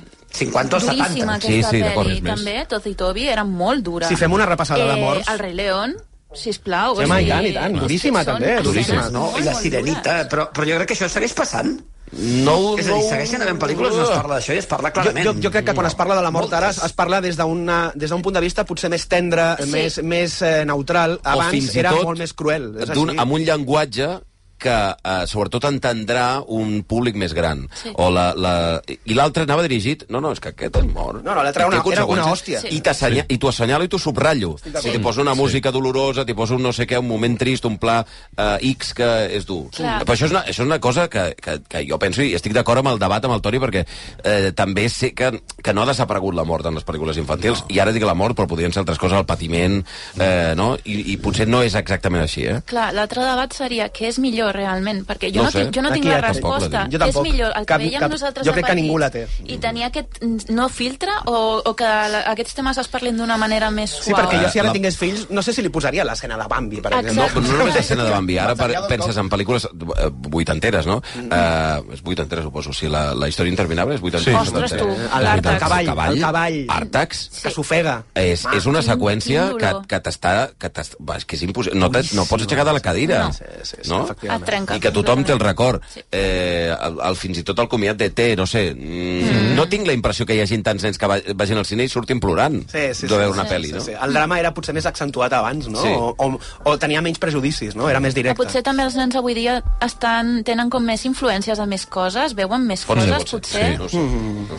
S2: 50 o 70.
S4: Duríssima
S6: Ah,
S2: Sí,
S4: aquesta
S2: sí, d'acord,
S4: pel·li,
S2: és més.
S4: també. Toz i Toby era molt dura. Eh,
S3: Si fem una repassada de morts.
S4: El rei León, sisplau.
S3: Sí, home, i tant, i tant. Duríssima, també, duríssima.
S6: No? I la sirenita, però, però jo crec que això segueix passant.
S2: No,
S6: és a dir, segueixen havent pel·lícules on es parla d'això i es parla clarament. Mm.
S3: Jo, jo, jo crec que quan es parla de la mort ara es, es parla des d'una- des d'un punt de vista potser més tendre,
S2: Sí.
S3: més, més eh, neutral. Abans
S2: fins i
S3: era
S2: tot
S3: molt més cruel. És
S2: d'un,
S3: així.
S2: amb un llenguatge que eh, sobretot entendrà un públic més gran.
S3: Sí.
S2: O la, la... I l'altre anava dirigit... No, no, és que aquest és mort.
S3: No, no, l'altre era
S2: I té
S3: una- era una
S2: conseqüències.
S3: hòstia. Sí.
S2: I t'assenya- I t'ho assenyalo i t'ho subratllo. Si t'hi posa una música dolorosa, t'hi posa un no sé què, un moment trist, un pla eh, X que és dur.
S13: Sí.
S2: Però això és una, això és una cosa que, que, que jo penso i estic d'acord amb el debat amb el Toni perquè eh, també sé que, que no ha desaparegut la mort en les pel·lícules infantils no. i ara dic la mort però podrien ser altres coses, el patiment eh, no? I, i potser no és exactament així eh?
S4: Clar, l'altre debat seria què és millor realment, perquè jo
S2: No
S4: no,
S2: ho sé.
S4: tinc, jo no tinc
S2: Aquí
S4: la
S2: ja tampoc la
S4: resposta.
S2: tinc. Jo
S4: Què és
S2: tampoc.
S4: millor, el que
S2: Cap-
S4: veiem
S2: cap-
S4: nosaltres
S2: jo crec
S4: de
S2: que ningú la
S4: petits I tenir aquest no filtre o, o que la, aquests temes es parlin d'una manera més suau.
S3: Sí, perquè jo si ara
S2: La-
S3: tingués fills, no sé si li posaria l'escena de Bambi, per
S4: Exacte.
S3: exemple.
S2: No, però no només l'escena de Bambi. Ara per, penses en pel·lícules eh, vuitanteres, no? Eh, és vuitantera, suposo. Sí, la, la història interminable és vuitantera.
S3: Sí. Ostres, tu.
S2: setantera.
S3: El Artax.
S2: És vuitantera.
S3: El cavall, el cavall.
S2: Artax.
S3: Que s'ofega.
S2: És, és una seqüència
S3: quin
S2: que,
S3: dolor.
S2: que t'està... Que t'est- va, és que és impossible. No, te- no pots aixecar de la cadira.
S3: No. Sí, sí, sí,
S2: no?
S3: efectivament. Et trenca.
S2: I que tothom té el record. Eh, el, el, fins i tot el comiat de T, no sé. Mm. No tinc la impressió que hi hagin tants nens que va- vagin al cine i surtin plorant
S3: Sí, sí, sí,
S2: de veure una
S3: sí,
S2: pel·li,
S3: sí,
S2: no?
S3: sí. El drama era potser més accentuat abans, no?
S2: Sí.
S3: O, o, o tenia menys prejudicis, no? Era més
S4: Que
S3: directe.
S4: Ah, potser també els nens avui dia estan, tenen com més influències a més coses, veuen més
S2: Pot ser,
S4: coses,
S2: pot
S4: potser.
S2: ser. Sí, no ho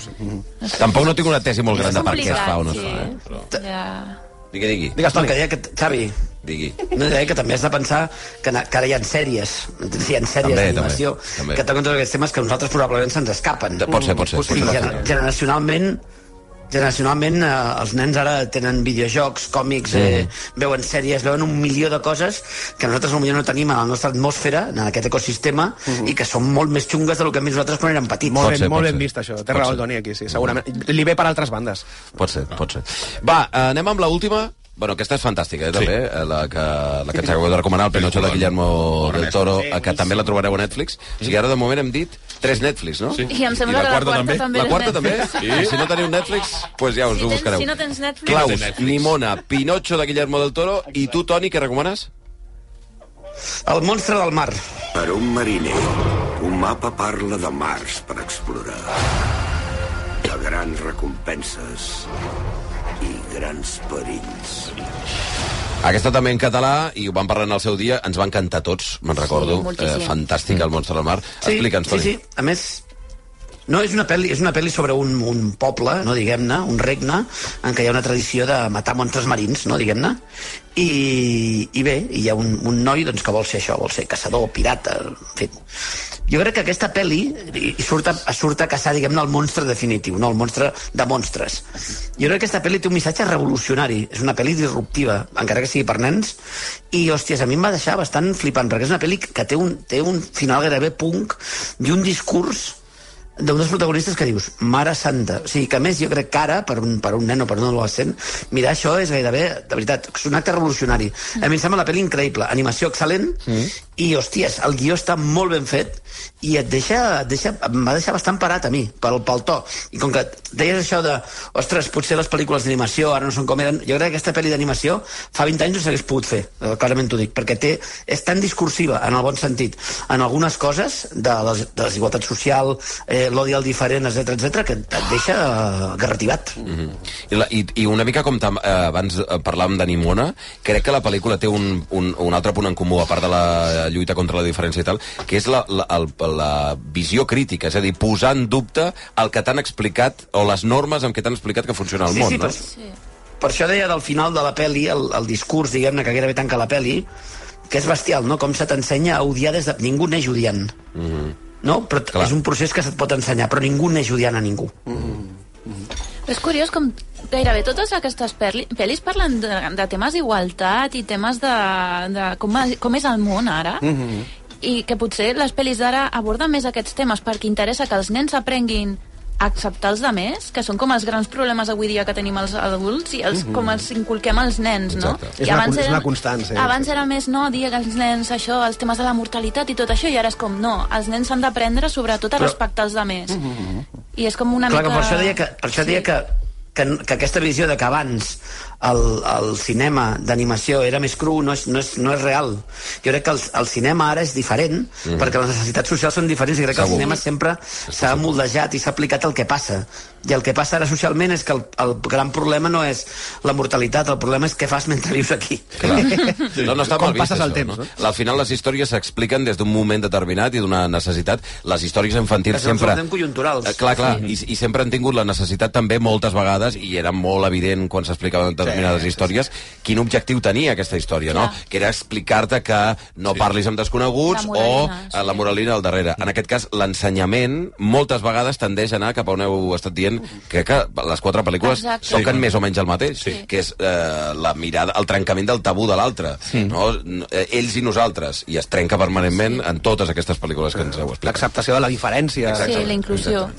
S2: sé. No ho sé. Tampoc no tinc una tesi molt gran de per què es fa o no es fa. Eh?
S4: Ja.
S2: Digui, digui.
S6: Digues, Toni. Que deia que, Xavi,
S2: Digui.
S6: no deia que també has de pensar que, na- que ara hi ha sèries, hi ha sèries
S2: També,
S6: d'animació,
S2: també, també.
S6: que toquen tots aquests temes que a nosaltres probablement se'ns escapen.
S2: pot ser, pot ser,
S6: O sigui,
S2: pot ser.
S6: gener- generacionalment generacionalment eh, els nens ara tenen videojocs, còmics,
S2: Sí.
S6: eh, veuen sèries, veuen un milió de coses que nosaltres potser no tenim a la nostra atmosfera, en aquest ecosistema, i que són molt més xungues del que hem vist nosaltres quan érem petits.
S3: Molt, ben, molt ben vist, això. Té raó el Doni aquí, sí, segurament. Li ve per altres bandes.
S2: Pot ser, pot ser. Va, eh, anem amb l'última. Bueno, aquesta és fantàstica, eh, també, sí. la que, la que ens acabeu de recomanar, el Pinocho de Guillermo del Toro, eh, que també la trobareu a Netflix. O sigui, ara de moment hem dit tres Netflix, no?
S4: Sí. I em sembla que la quarta també
S2: La
S4: és
S2: quarta també?
S4: Netflix.
S2: Sí. I si no teniu Netflix, doncs pues ja us ho buscareu.
S4: Si no tens Netflix...
S2: Claus, Nimona, Pinocho de Guillermo del Toro, i tu, Toni, què recomanes?
S6: El monstre del mar.
S14: Per un mariner, un mapa parla de mars per explorar. De grans recompenses i grans perills.
S2: Aquesta també en català, i ho vam parlar en el seu dia, ens va encantar a tots, me'n recordo. eh,
S6: moltíssim.
S2: fantàstica, el monstre del mar. Explica'ns,
S6: sí,
S2: Toni.
S6: sí. A més, no, és una pel·li, és una pel·li sobre un, un poble, no, diguem-ne, un regne, en què hi ha una tradició de matar monstres marins, no, diguem-ne, i, i bé, hi ha un, un noi doncs, que vol ser això, vol ser caçador, pirata, en fi. Jo crec que aquesta pel·li i- i surt a, surt a caçar, diguem-ne, el monstre definitiu, no, el monstre de monstres. Jo crec que aquesta pel·li té un missatge revolucionari, és una pel·li disruptiva, encara que sigui per nens, i, hòsties, a mi em va deixar bastant flipant, perquè és una pel·li que té un, té un final gairebé punk i un discurs d'un dels protagonistes que dius, mare santa. O sigui, que a més jo crec que ara, per un, per un nen o per un adolescent, mirar això és gairebé, de veritat, és un acte revolucionari. A mi em sembla la pel·li increïble, animació excel·lent, i, hòsties, el guió està molt ben fet i et deixa, et deixa em va deixar bastant parat a mi, pel, pel to. I com que deies això de, ostres, potser les pel·lícules d'animació ara no són com eren, jo crec que aquesta pel·li d'animació fa 20 anys no s'hagués pogut fer, eh, clarament t'ho dic, perquè té, és tan discursiva, en el bon sentit, en algunes coses, de la de la desigualtat social, eh, l'odi al diferent, etc etc que et deixa eh, garrativat.
S2: Mm -hmm. I, la, i, I una mica com tam, eh, abans eh, parlàvem d'Animona, crec que la pel·lícula té un, un, un altre punt en comú, a part de la eh, lluita contra la diferència i tal, que és la, la, el, la visió crítica, és a dir, posar en dubte el que t'han explicat, o les normes amb què t'han explicat que funciona el
S6: Sí,
S2: món.
S6: sí,
S2: no?
S6: per, per això deia del final de la peli, el, el discurs, diguem-ne, que gairebé tanca la peli, que és bestial, no? Com se t'ensenya a odiar des de... Ningú neix odiant,
S2: Mm -hmm.
S6: no? Però Clar. és un procés que se't pot ensenyar, però ningú neix odiant a ningú.
S4: Però és curiós com gairebé totes aquestes perli- pel·lis parlen de, de temes d'igualtat i temes de, de com, es- com és el món ara. Mm -hmm.
S6: Mm-hmm.
S4: i que potser les pel·lis d'ara aborden més aquests temes perquè interessa que els nens aprenguin a acceptar els demés, que són com els grans problemes avui dia que tenim els adults i els,
S3: Mhm.
S4: mm
S6: Mm-hmm.
S4: -hmm. com els inculquem als nens, no?
S3: Exacte. És
S4: I
S3: una
S4: abans
S3: con- és
S4: eren-
S3: una constant, sí.
S4: Abans era més, no, dir als nens això, els temes de la mortalitat i tot això, i ara és com, no, els nens han d'aprendre sobretot a
S6: Però- Mm-hmm.
S4: respectar els demés. Mm -hmm. I és com una
S6: Clar,
S4: mica...
S6: que per això deia que, per això deia que, que, que aquesta visió de que abans el, el cinema d'animació era més cru no és, no és, no és real. Jo crec que el, el cinema ara és diferent, mm.
S13: Mhm.
S6: perquè les necessitats socials són diferents, i crec que el
S13: Segur.
S6: cinema sempre s'ha moldejat i s'ha aplicat al que passa. I el que passa ara socialment és que el, el gran problema no és la mortalitat, el problema és què fas mentre vius aquí.
S2: Clar. No, no està
S6: Com
S2: mal vist,
S6: passes el
S2: això,
S6: temps,
S2: no? Al final les històries s'expliquen des d'un moment determinat i d'una necessitat. Les històries infantils
S6: Que són
S2: sempre...
S6: absolutament conjunturals.
S2: Eh, Clar, clar, i, i sempre han tingut la necessitat també moltes vegades, i era molt evident quan s'explicaven determinades sí, històries, quin objectiu tenia aquesta història, clar. no? Que era explicar-te que no sí. parlis amb desconeguts
S13: La
S2: o
S13: moralina,
S2: eh, la moralina al darrere. En aquest cas, l'ensenyament moltes vegades tendeix a anar cap a on heu estat dient que, que les quatre pel·lícules
S13: Exacte.
S2: toquen
S13: Sí.
S2: més o menys el mateix, sí. que és eh, la mirada, el trencament del tabú de l'altre, sí. no? N- eh, ells i nosaltres, i es trenca permanentment en totes aquestes pel·lícules que ens heu explicat.
S3: L'acceptació de la diferència.
S4: Sí, la inclusió.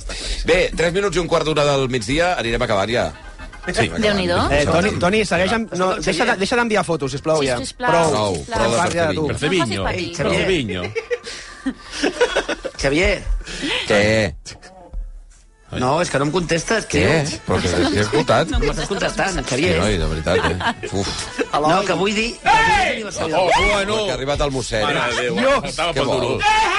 S2: Bé, 3 minuts i un quart d'una del migdia, anirem acabant ja.
S4: Sí. Déu-n'hi-do.
S3: Eh, Toni, Toni, segueix amb... No, deixa de- deixa d'enviar fotos, sisplau,
S4: Sí,
S3: ja.
S4: sisplau,
S2: Prou,
S4: sisplau.
S2: prou de
S3: Parla
S2: fer
S3: tu.
S2: vinyo.
S3: Fer vinyo.
S6: Ei, Xavier. Xavier,
S2: Què?
S6: no, és que no em contestes.
S2: Què?
S6: tio.
S2: Però que t'he escoltat.
S6: No m'estàs contestant,
S2: Sí,
S6: Xavier.
S2: noi, de veritat, eh? Uf.
S6: No, que vull dir... Ei!
S2: Oh, bueno! Que ha arribat el mossèn.
S5: Mare de Déu, eh? estava
S2: Què
S5: pel
S2: vol?
S5: duro.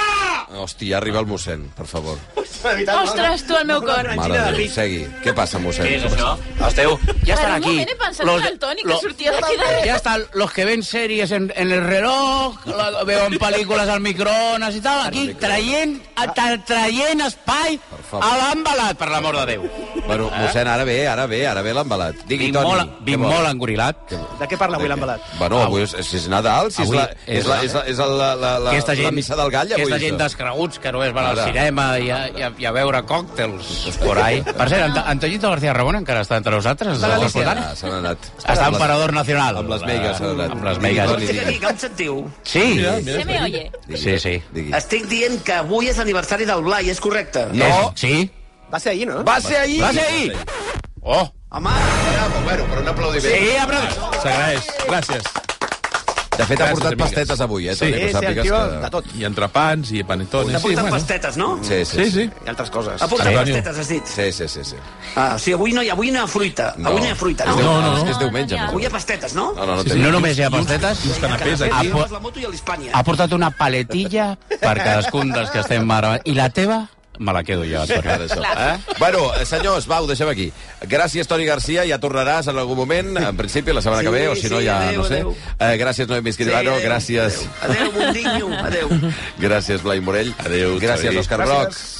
S2: Hòstia, arriba el mossèn, per favor.
S4: Ostres, tu, el meu cor.
S2: Mare de Déu, segui. Què passa, mossèn?
S15: Què és això? Esteu...
S4: Per
S15: Ja estan
S4: un
S15: aquí.
S4: moment he pensat que era el Toni, que sortia d'aquí de-
S15: Ja estan Eh, los que ven sèries en, en el reloj, la, veuen pel·lícules al microones i tal, aquí traient, tra, traient espai
S2: favor.
S15: a l'embalat, per l'amor de Déu.
S2: Bueno, mossèn, ara ve, ara ve, ara ve l'embalat. Digui,
S15: Vinc
S2: Toni.
S15: molt-
S2: què
S15: vinc
S2: vol?
S15: molt engorilat.
S2: Què vol?
S3: De què parla avui l'embalat?
S2: Bueno, avui és, és Nadal, si és
S15: Avui
S2: la, és la, és la, és la, la, la,
S15: Aquesta
S2: la missa del gall, avui.
S15: Aquesta gent
S2: això.
S15: descreguts que només van al
S2: Ara.
S15: cinema i a, i a, i a veure còctels por ahí. Per cert, Ant Antoñito García Ramon encara està entre nosaltres?
S2: S'han
S15: Està
S2: anat,
S15: escoltant?
S2: ah, s'han anat.
S15: Està en parador nacional.
S2: Amb les meigues, s'han anat.
S15: Amb les meigues.
S2: Digui, Toni, digui.
S6: Com em sentiu?
S15: Sí.
S4: Se me oye.
S15: Sí, sí.
S6: Estic dient que avui és l'aniversari del Blai, és correcte?
S15: No. Sí?
S3: Va ser ahir, no?
S6: Va ser ahir.
S15: Va ser ahir. Oh.
S6: Home,
S2: bravo, bueno, però un aplaudiment.
S15: Sí, aplaudiment.
S5: S'agraeix. Gràcies.
S2: De fet, ha
S5: Gràcies,
S2: portat
S5: amigues.
S2: pastetes avui, eh?
S5: Sí,
S2: També, que
S5: sí,
S2: sàpigues
S5: tio,
S2: que-
S5: de tot. I entrepans, i panetones.
S6: T'ha portat pastetes, no?
S2: Sí, sí,
S5: sí.
S3: I altres coses.
S6: Ha portat
S5: Antonio.
S6: pastetes, has dit?
S2: Sí, sí, sí. sí.
S6: Ah, o sigui, avui no hi ha, avui no hi ha fruita.
S2: No.
S6: Avui no hi ha fruita, no?
S2: És diumenge, No, no, no. és diumenge, més o
S6: Avui hi ha pastetes, no?
S2: No, no, no,
S15: Sí, sí.
S2: té-
S15: No només hi ha pastetes.
S5: I uns canapés,
S15: Ha,
S5: aquí.
S15: po-
S6: La moto i a l'Hispània.
S15: ha portat una paletilla per cadascun dels que estem ara. I la teva me la quedo jo,
S2: Ara,
S15: Antonio.
S2: això. Eh? Bueno, eh, senyors, va, ho deixem aquí. Gràcies, Toni Garcia, ja tornaràs en algun moment, en principi la setmana que ve, o si no,
S6: sí,
S2: ja
S6: adéu,
S2: no sé.
S6: adéu.
S2: Eh, gràcies, Noemi Misquirano,
S6: Sí, adéu,
S2: gràcies.
S6: Adéu, bondinyo. Adéu.
S2: Gràcies, Blai Morell. Adéu, Gràcies,
S5: Xavi.
S2: Òscar
S5: Gràcies.
S2: Brocs.